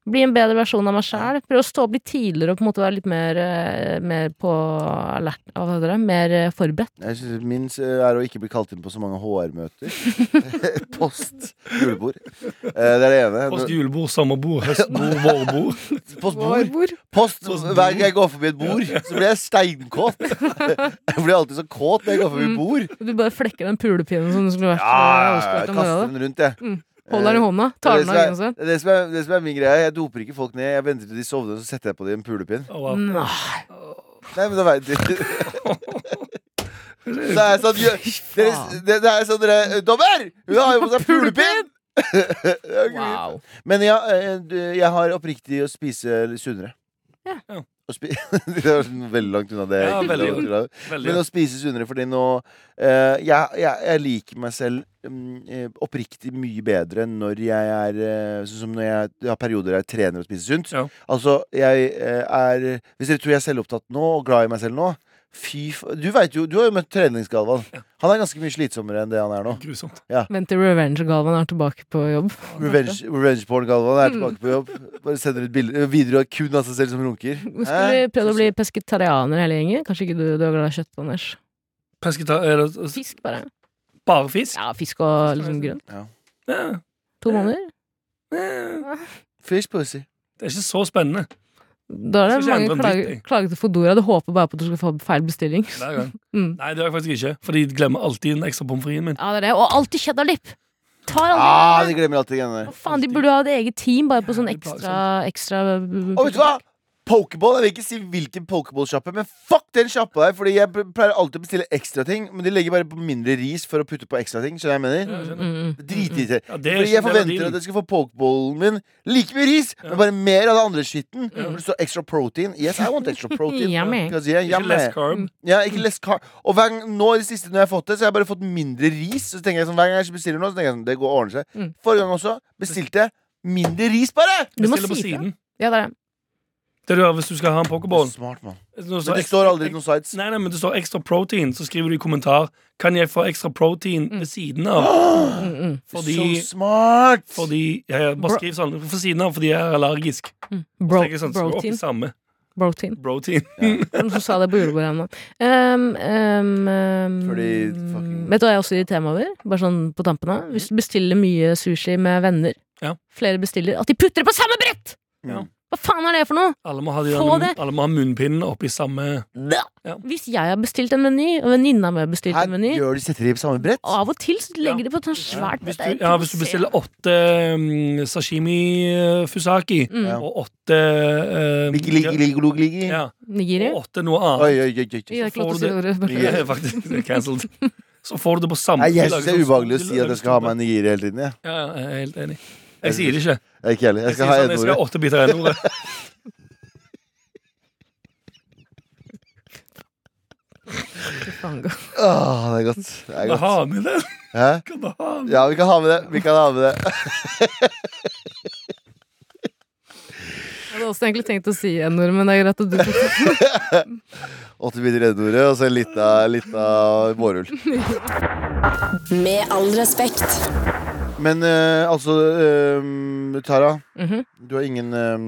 [SPEAKER 4] Bli en bedre versjon av meg sjæl. Prøve å stå opp litt tidligere og på en måte være litt mer, eh, mer på alert, hva heter det, mer eh, forberedt.
[SPEAKER 2] Jeg synes Min eh, er å ikke bli kalt inn på så mange HR-møter.
[SPEAKER 4] [LAUGHS]
[SPEAKER 2] Post julebord. Eh, Det er det ene.
[SPEAKER 3] Post julebord, sommerbord, høstbord,
[SPEAKER 4] [LAUGHS]
[SPEAKER 3] vårbord.
[SPEAKER 2] Post bord. Post, Hver gang jeg går forbi et bord, så blir jeg [LAUGHS] steinkåt. Jeg blir alltid så kåt når jeg går forbi
[SPEAKER 4] Mm.
[SPEAKER 2] bord.
[SPEAKER 4] Du bare flekker den pulepinnen som du skulle vært eh,
[SPEAKER 2] Ja,
[SPEAKER 4] avskåret
[SPEAKER 2] jeg
[SPEAKER 4] om
[SPEAKER 2] kaster
[SPEAKER 4] morgenen.
[SPEAKER 2] den rundt, jeg. Eh,
[SPEAKER 4] Holder den i hånda,
[SPEAKER 2] Det
[SPEAKER 4] tar den
[SPEAKER 2] som
[SPEAKER 4] av
[SPEAKER 2] er-
[SPEAKER 4] genseren.
[SPEAKER 2] det er det som er- det som er min greie, jeg doper ikke folk ned. Jeg venter til de sovner, og så setter jeg på dem en pulepinn.
[SPEAKER 3] Å, wow.
[SPEAKER 4] Nei.
[SPEAKER 2] Nei, men da vet
[SPEAKER 4] [LAUGHS]
[SPEAKER 2] du Det er sånn gjø- dere, det, det er sånn dere Dommer! Hun har jo på seg pulepinn! [LAUGHS] Det er gøy.
[SPEAKER 4] Wow.
[SPEAKER 2] Men ja, eh, du, jeg har oppriktig å spise litt sunnere.
[SPEAKER 4] Ja.
[SPEAKER 3] Ja.
[SPEAKER 2] Å spi [LAUGHS] det var sånn veldig langt unna det. jeg
[SPEAKER 3] Ja,
[SPEAKER 2] ikke
[SPEAKER 3] veldig.
[SPEAKER 2] ville ha vært unna.
[SPEAKER 3] Veldig.
[SPEAKER 2] Men å spise sunnere fordi nå eh, jeg, jeg, jeg liker meg selv mm, eh, oppriktig mye bedre når jeg er eh, Sånn som når jeg, jeg har perioder der jeg trener og spiser sunt.
[SPEAKER 3] Ja.
[SPEAKER 2] Altså, jeg eh, er Hvis dere tror jeg er selvopptatt nå og glad i meg selv nå Fy fa... Du vet jo, du har jo møtt treningsgalvan. Han er ganske mye slitsommere enn det han er nå.
[SPEAKER 3] Grusomt.
[SPEAKER 4] Vent til Revenge-Galvan er tilbake på jobb.
[SPEAKER 2] Revenge, revenge porn Galvan
[SPEAKER 4] Mm.
[SPEAKER 2] er tilbake på jobb. Bare sender ut bilder Videoer av kun av seg selv som runker.
[SPEAKER 4] Skulle vi prøvd å bli pesketarianer hele gjengen? Kanskje ikke du, du er glad i kjøtt, Anders?
[SPEAKER 3] Pesketa er det s-
[SPEAKER 4] Fisk, bare.
[SPEAKER 3] bare fisk?
[SPEAKER 4] Ja, fisk og liksom grønt.
[SPEAKER 3] Ja.
[SPEAKER 4] To måneder. eh.
[SPEAKER 2] Fish pussy.
[SPEAKER 3] Det er ikke så spennende
[SPEAKER 4] Da er det
[SPEAKER 3] Skal ikke endre
[SPEAKER 4] mange
[SPEAKER 3] en dritt,
[SPEAKER 4] klager,
[SPEAKER 3] jeg.
[SPEAKER 4] klager til Fodora. Du håper bare på at du skal få feil bestilling.
[SPEAKER 3] hver gang.
[SPEAKER 4] Mm.
[SPEAKER 3] Nei, det gjør jeg faktisk ikke, Fordi de glemmer alltid den ekstra pommes fritesen min.
[SPEAKER 4] Ja, det er det. Og alltid cheddarlip! Tar
[SPEAKER 2] Ah,
[SPEAKER 4] aldri
[SPEAKER 2] de glemmer alltid greiene der.
[SPEAKER 4] Å, faen, de burde ha et eget team bare på sånn
[SPEAKER 3] Jævlig
[SPEAKER 4] ekstra, ekstra
[SPEAKER 2] Og vet du hva? Pokeball, Jeg vil ikke si hvilken pokeball-sjappe, men fuck den sjappa der. Fordi jeg pleier alltid å bestille ekstra ting, men de legger bare på mindre ris for å putte på ekstra ting. Skjønner du hva jeg mener?
[SPEAKER 4] Mm, mm, mm.
[SPEAKER 2] Dritirriterende.
[SPEAKER 3] Ja, det er
[SPEAKER 2] Fordi jeg
[SPEAKER 3] ikke en del av
[SPEAKER 2] forventer
[SPEAKER 3] dealen.
[SPEAKER 2] at jeg skal få pokeballen min like mye ris, men bare mer av det andre skitten. Hvor det står extra protein. Yes, I want
[SPEAKER 4] [LAUGHS]
[SPEAKER 2] extra protein.
[SPEAKER 4] Yummy.
[SPEAKER 2] Because yeah,
[SPEAKER 3] Ikke
[SPEAKER 2] yummy.
[SPEAKER 3] less
[SPEAKER 4] Mm.
[SPEAKER 3] carb.
[SPEAKER 2] Ja, ikke less car Og hver gang, nå i det siste når jeg har fått det, så har jeg bare fått mindre ris. Så tenker jeg sånn, Hver gang jeg bestiller noe, så tenker jeg sånn, det går og ordner seg.
[SPEAKER 4] Mm.
[SPEAKER 2] Forrige gang også bestilte jeg mindre ris, bare!
[SPEAKER 4] Du må
[SPEAKER 3] Bestiller på
[SPEAKER 4] si fra.
[SPEAKER 3] siden.
[SPEAKER 4] Ja, det er det.
[SPEAKER 3] Det du gjør hvis du skal ha en pokeball
[SPEAKER 2] Smart, mann.
[SPEAKER 3] Nå
[SPEAKER 2] Men
[SPEAKER 3] står
[SPEAKER 2] det
[SPEAKER 3] ekstra-
[SPEAKER 2] står aldri noen sites.
[SPEAKER 3] Nei, nei, men det står ekstra protein, så skriver du i kommentar Kan jeg få ekstra protein ved siden
[SPEAKER 2] [GASPS]
[SPEAKER 3] av?
[SPEAKER 4] Mm, mm.
[SPEAKER 3] Fordi,
[SPEAKER 2] so smart!
[SPEAKER 3] fordi ja, ja, Bare
[SPEAKER 4] Bro-
[SPEAKER 3] skriv sånn. Ved siden av fordi jeg er allergisk.
[SPEAKER 4] Bro,
[SPEAKER 3] Tenker jeg sånn, så
[SPEAKER 4] brotein.
[SPEAKER 3] det samme.
[SPEAKER 4] Brotein.
[SPEAKER 3] Protein.
[SPEAKER 4] Noen som sa det på julebordet ennå. Um, um, um,
[SPEAKER 2] Fordi fucking-
[SPEAKER 4] Vet du hva jeg også irriterer meg over? Bare sånn på tampene. Hvis du bestiller mye sushi med venner,
[SPEAKER 3] Ja.
[SPEAKER 4] flere bestiller, at de putter det på samme brett!
[SPEAKER 2] Ja.
[SPEAKER 4] Hva faen er det for noe?
[SPEAKER 3] Alle må ha, de
[SPEAKER 4] Få
[SPEAKER 3] der-
[SPEAKER 4] det.
[SPEAKER 3] alle må ha munnpinnene oppi samme
[SPEAKER 4] Hvis jeg har bestilt en meny, og venninna mi har bestilt
[SPEAKER 2] Her
[SPEAKER 4] en meny,
[SPEAKER 2] gjør de setter de på samme brett.
[SPEAKER 3] Ah.
[SPEAKER 4] av og til så legger
[SPEAKER 3] Ja.
[SPEAKER 4] de på et sånt svært
[SPEAKER 3] Hvis
[SPEAKER 4] brett.
[SPEAKER 3] du,
[SPEAKER 4] Det er
[SPEAKER 3] ja, hvis du bestiller åtte mm, sashimi eh, fusaki
[SPEAKER 4] Mm.
[SPEAKER 2] Ja.
[SPEAKER 3] og åtte eh,
[SPEAKER 2] Ligge, ligge, ligge, ligge, ligge.
[SPEAKER 3] Ja,
[SPEAKER 4] Nigiri.
[SPEAKER 3] og åtte noe annet.
[SPEAKER 2] Oi, oi, oi, oi,
[SPEAKER 4] Vi
[SPEAKER 2] oi.
[SPEAKER 4] har ikke
[SPEAKER 3] får
[SPEAKER 4] lov til å si
[SPEAKER 3] du
[SPEAKER 4] ordet.
[SPEAKER 2] Nigiri.
[SPEAKER 3] [LAUGHS]
[SPEAKER 4] beklager.
[SPEAKER 3] Ja, Faktisk, det er cancelled. Så får du det på samme
[SPEAKER 2] Nei, jeg
[SPEAKER 3] du lager
[SPEAKER 2] syns det er
[SPEAKER 3] sånn-
[SPEAKER 2] ubehagelig å
[SPEAKER 3] du
[SPEAKER 2] si
[SPEAKER 3] lager
[SPEAKER 2] at jeg skal ha
[SPEAKER 3] sånn-
[SPEAKER 2] meg en nigiri hele tiden. Jeg,
[SPEAKER 3] Ja, ja, jeg er helt enig. Jeg sier det ikke.
[SPEAKER 2] jeg er ikke heller.
[SPEAKER 3] Jeg,
[SPEAKER 2] Jeg skal
[SPEAKER 3] sier
[SPEAKER 2] ha
[SPEAKER 3] sånn, jeg skal ha
[SPEAKER 2] n-ordet.
[SPEAKER 3] åtte biter av
[SPEAKER 2] [LAUGHS]
[SPEAKER 3] n-ordet.
[SPEAKER 4] Faen, gå.
[SPEAKER 2] Åh, det er godt. Det er
[SPEAKER 3] Kan du
[SPEAKER 2] godt.
[SPEAKER 3] ha med det?
[SPEAKER 2] Hæ?
[SPEAKER 3] Kan du ha med det?
[SPEAKER 2] Ja, vi kan ha med det. Vi kan ha med det.
[SPEAKER 4] Jeg hadde også egentlig tenkt å si en ord, men det er greit at du tok det.
[SPEAKER 2] Åtte biter n-ordet, og så litt av, litt av vårrull.
[SPEAKER 1] Med all respekt.
[SPEAKER 2] Men eh, altså, eh, Tara,
[SPEAKER 4] [LAUGHS] Mhm.
[SPEAKER 2] du har ingen eh,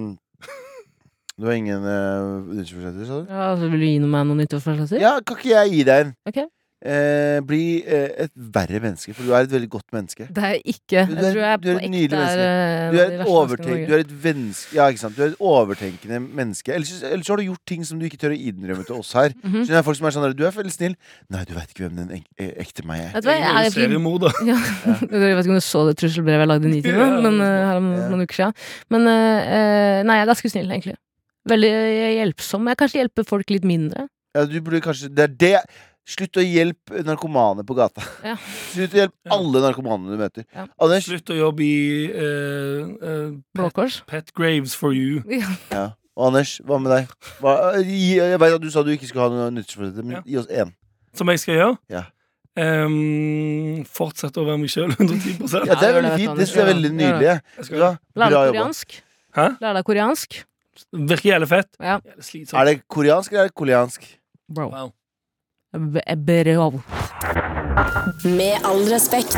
[SPEAKER 2] Du har ingen uh, unnskyldningsforsetter, sa du?
[SPEAKER 4] Ja, så vil du gi meg noe nytt? å fortsette til?
[SPEAKER 2] Ja, kan ikke jeg gi deg en?
[SPEAKER 4] Ok.
[SPEAKER 2] Eh, bli eh, et verre menneske, for du er et veldig godt menneske.
[SPEAKER 4] Det er jeg ikke.
[SPEAKER 2] Du
[SPEAKER 4] Jeg
[SPEAKER 2] er-
[SPEAKER 4] tror
[SPEAKER 2] du er
[SPEAKER 4] jeg på
[SPEAKER 2] et nydelig
[SPEAKER 4] ekte er eh,
[SPEAKER 2] Du
[SPEAKER 4] en av
[SPEAKER 2] er et,
[SPEAKER 4] de verste menneskene i
[SPEAKER 2] overtenk,
[SPEAKER 4] Norge.
[SPEAKER 2] du er et vensk- ja, ikke sant? Du er et overtenkende menneske. Ellers, ellers så har du gjort ting som du ikke tør å innrømme til oss her.
[SPEAKER 4] Mhm.
[SPEAKER 2] Så det er folk som er sånn der, Du er veldig snill. Nei, du veit ikke hvem den ek- eh, ekte meg er.
[SPEAKER 4] Vet du hva, jeg er
[SPEAKER 3] Jeg er
[SPEAKER 4] egentlig
[SPEAKER 3] seriemorder.
[SPEAKER 4] ja. Jeg vet ikke om du så det trusselbrevet jeg lagde
[SPEAKER 2] [LAUGHS]
[SPEAKER 4] i Nitimen,
[SPEAKER 3] Ja,
[SPEAKER 4] men eh, her om
[SPEAKER 2] Ja.
[SPEAKER 4] noen uker siden. Men eh, eh, nei, jeg er ganske snill, egentlig. Veldig eh, hjelpsom. Jeg kanskje hjelper folk litt mindre.
[SPEAKER 2] Ja, du burde kanskje Det er det! Slutt å hjelpe narkomane på gata.
[SPEAKER 4] Ja.
[SPEAKER 2] [LAUGHS] Slutt å hjelpe
[SPEAKER 3] Ja.
[SPEAKER 2] alle narkomanene du møter.
[SPEAKER 4] Ja.
[SPEAKER 2] Anders,
[SPEAKER 3] Slutt å jobbe i eh, eh,
[SPEAKER 4] Blå
[SPEAKER 3] pet,
[SPEAKER 4] Kors.
[SPEAKER 3] pet graves for you.
[SPEAKER 4] Ja.
[SPEAKER 2] [LAUGHS] Ja. Og Anders, hva med deg? Hva, gi, jeg vet at Du sa du ikke skulle ha noe nyttårsforsett, men
[SPEAKER 3] Ja.
[SPEAKER 2] gi oss én.
[SPEAKER 3] Som jeg skal gjøre.
[SPEAKER 2] Ja.
[SPEAKER 3] Em, fortsett å være meg [LAUGHS] sjøl 110
[SPEAKER 2] Ja, det er
[SPEAKER 4] gjør
[SPEAKER 2] veldig
[SPEAKER 4] det,
[SPEAKER 2] fint.
[SPEAKER 4] vet du,
[SPEAKER 2] Det synes jeg er
[SPEAKER 4] Anders.
[SPEAKER 2] veldig
[SPEAKER 4] Ja, gjør
[SPEAKER 2] nydelig.
[SPEAKER 3] Jeg
[SPEAKER 2] Vet
[SPEAKER 3] skal
[SPEAKER 2] du hva?
[SPEAKER 4] Lær
[SPEAKER 2] Bra
[SPEAKER 4] deg
[SPEAKER 2] jobba.
[SPEAKER 4] koreansk.
[SPEAKER 3] Hæ?
[SPEAKER 4] Lær deg koreansk.
[SPEAKER 3] Virker jævlig fett.
[SPEAKER 4] Ja.
[SPEAKER 3] Jævlig
[SPEAKER 2] Er
[SPEAKER 3] slitsomt.
[SPEAKER 2] det koreansk eller er det koleansk?
[SPEAKER 4] Bro.
[SPEAKER 3] Wow.
[SPEAKER 4] B- eh, Bro.
[SPEAKER 1] Med all respekt.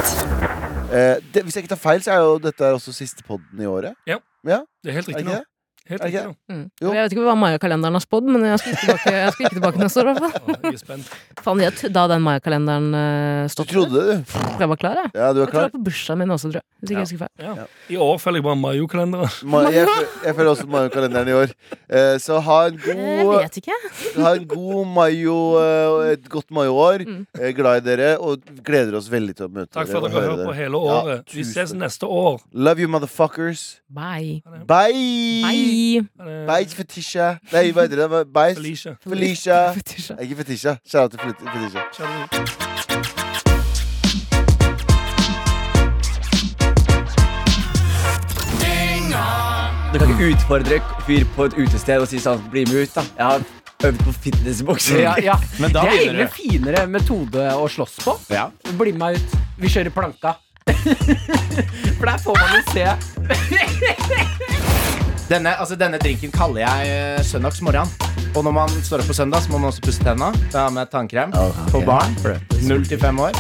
[SPEAKER 2] Eh, det, hvis jeg ikke tar feil, så er jo dette er også siste podden i året.
[SPEAKER 3] Det er helt
[SPEAKER 2] Er
[SPEAKER 3] riktig
[SPEAKER 2] ikke
[SPEAKER 3] nå.
[SPEAKER 2] det?
[SPEAKER 3] Helt
[SPEAKER 2] Er det
[SPEAKER 3] riktig
[SPEAKER 2] ikke
[SPEAKER 3] nå.
[SPEAKER 4] Mm.
[SPEAKER 2] Jo.
[SPEAKER 4] Og Jeg vet ikke hva Maya-kalenderen har spådd, men jeg skal ikke tilbake, jeg skal ikke tilbake neste år. i hvert fall.
[SPEAKER 3] Å, jeg er spent.
[SPEAKER 4] Faen, jeg t- Da den Maya-kalenderen eh,
[SPEAKER 2] Du
[SPEAKER 4] stoppet,
[SPEAKER 2] trodde det, du?
[SPEAKER 4] jeg var klar, jeg.
[SPEAKER 2] Ja, du er
[SPEAKER 4] Jeg tror
[SPEAKER 2] klar?
[SPEAKER 4] det var på bursdagen min også, tror jeg. Hvis ikke jeg husker feil.
[SPEAKER 3] Ja. I år følger jeg bare Mayo-kalenderen.
[SPEAKER 2] Ma jeg, fø- jeg følger også Mayo-kalenderen i år. Eh, så ha en
[SPEAKER 4] Eh, Jeg
[SPEAKER 2] god,
[SPEAKER 4] vet ikke.
[SPEAKER 2] ha en god mayo, eh, og et godt mayo-år.
[SPEAKER 4] Mm.
[SPEAKER 2] Eh, glad i dere, og gleder oss veldig til å møte
[SPEAKER 3] Takk
[SPEAKER 2] dere.
[SPEAKER 3] for at
[SPEAKER 2] og
[SPEAKER 3] dere har
[SPEAKER 2] høre
[SPEAKER 3] hørt på
[SPEAKER 2] dere.
[SPEAKER 3] hele
[SPEAKER 2] Ja,
[SPEAKER 3] året. Vi
[SPEAKER 2] tusen
[SPEAKER 3] ses
[SPEAKER 2] takk.
[SPEAKER 3] neste år.
[SPEAKER 2] Love you, motherfuckers.
[SPEAKER 4] Bye.
[SPEAKER 2] Bye!
[SPEAKER 4] Bye.
[SPEAKER 3] Ha det.
[SPEAKER 2] Bye, Fetisha. Nei, hva heter det? Bye,
[SPEAKER 3] Eh, Felicia.
[SPEAKER 2] Felicia.
[SPEAKER 4] Fetisha.
[SPEAKER 2] Ikke Fetisha. Shout out til Fet- Fetisha.
[SPEAKER 3] Kjære.
[SPEAKER 6] Du kan ikke utfordre en fyr på et utested og si sånn Bli med ut, da. Jeg har øvd på fitnessboksing. [LAUGHS]
[SPEAKER 7] Ja, [LAUGHS] ja.
[SPEAKER 8] Men da
[SPEAKER 7] det er
[SPEAKER 8] begynner
[SPEAKER 7] egentlig
[SPEAKER 8] du.
[SPEAKER 7] finere metode å slåss på.
[SPEAKER 8] Ja.
[SPEAKER 7] Bli med meg ut. Vi kjører planka. [LAUGHS] For der får man jo se.
[SPEAKER 8] Denne, altså, denne drinken kaller jeg eh, søndagsmorgen. Og når man står opp på søndag, så må man også pusse tenna. Da har jeg med tannkrem på barn. Null til fem år.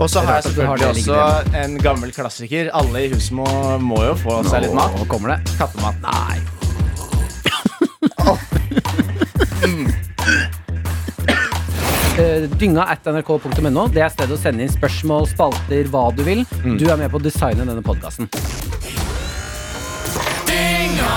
[SPEAKER 8] Og så har jeg
[SPEAKER 7] at du har
[SPEAKER 8] selvfølgelig
[SPEAKER 7] det
[SPEAKER 8] også en gammel klassiker. Alle i huset må, må jo få seg litt mat.
[SPEAKER 7] Nå kommer det.
[SPEAKER 8] Kattemat. Nei.
[SPEAKER 7] [LAUGHS] Eh, Dynga at nrk.no. Det er stedet å sende inn spørsmål, spalter, hva du vil. Du er med på å designe denne podkasten.
[SPEAKER 9] Dynga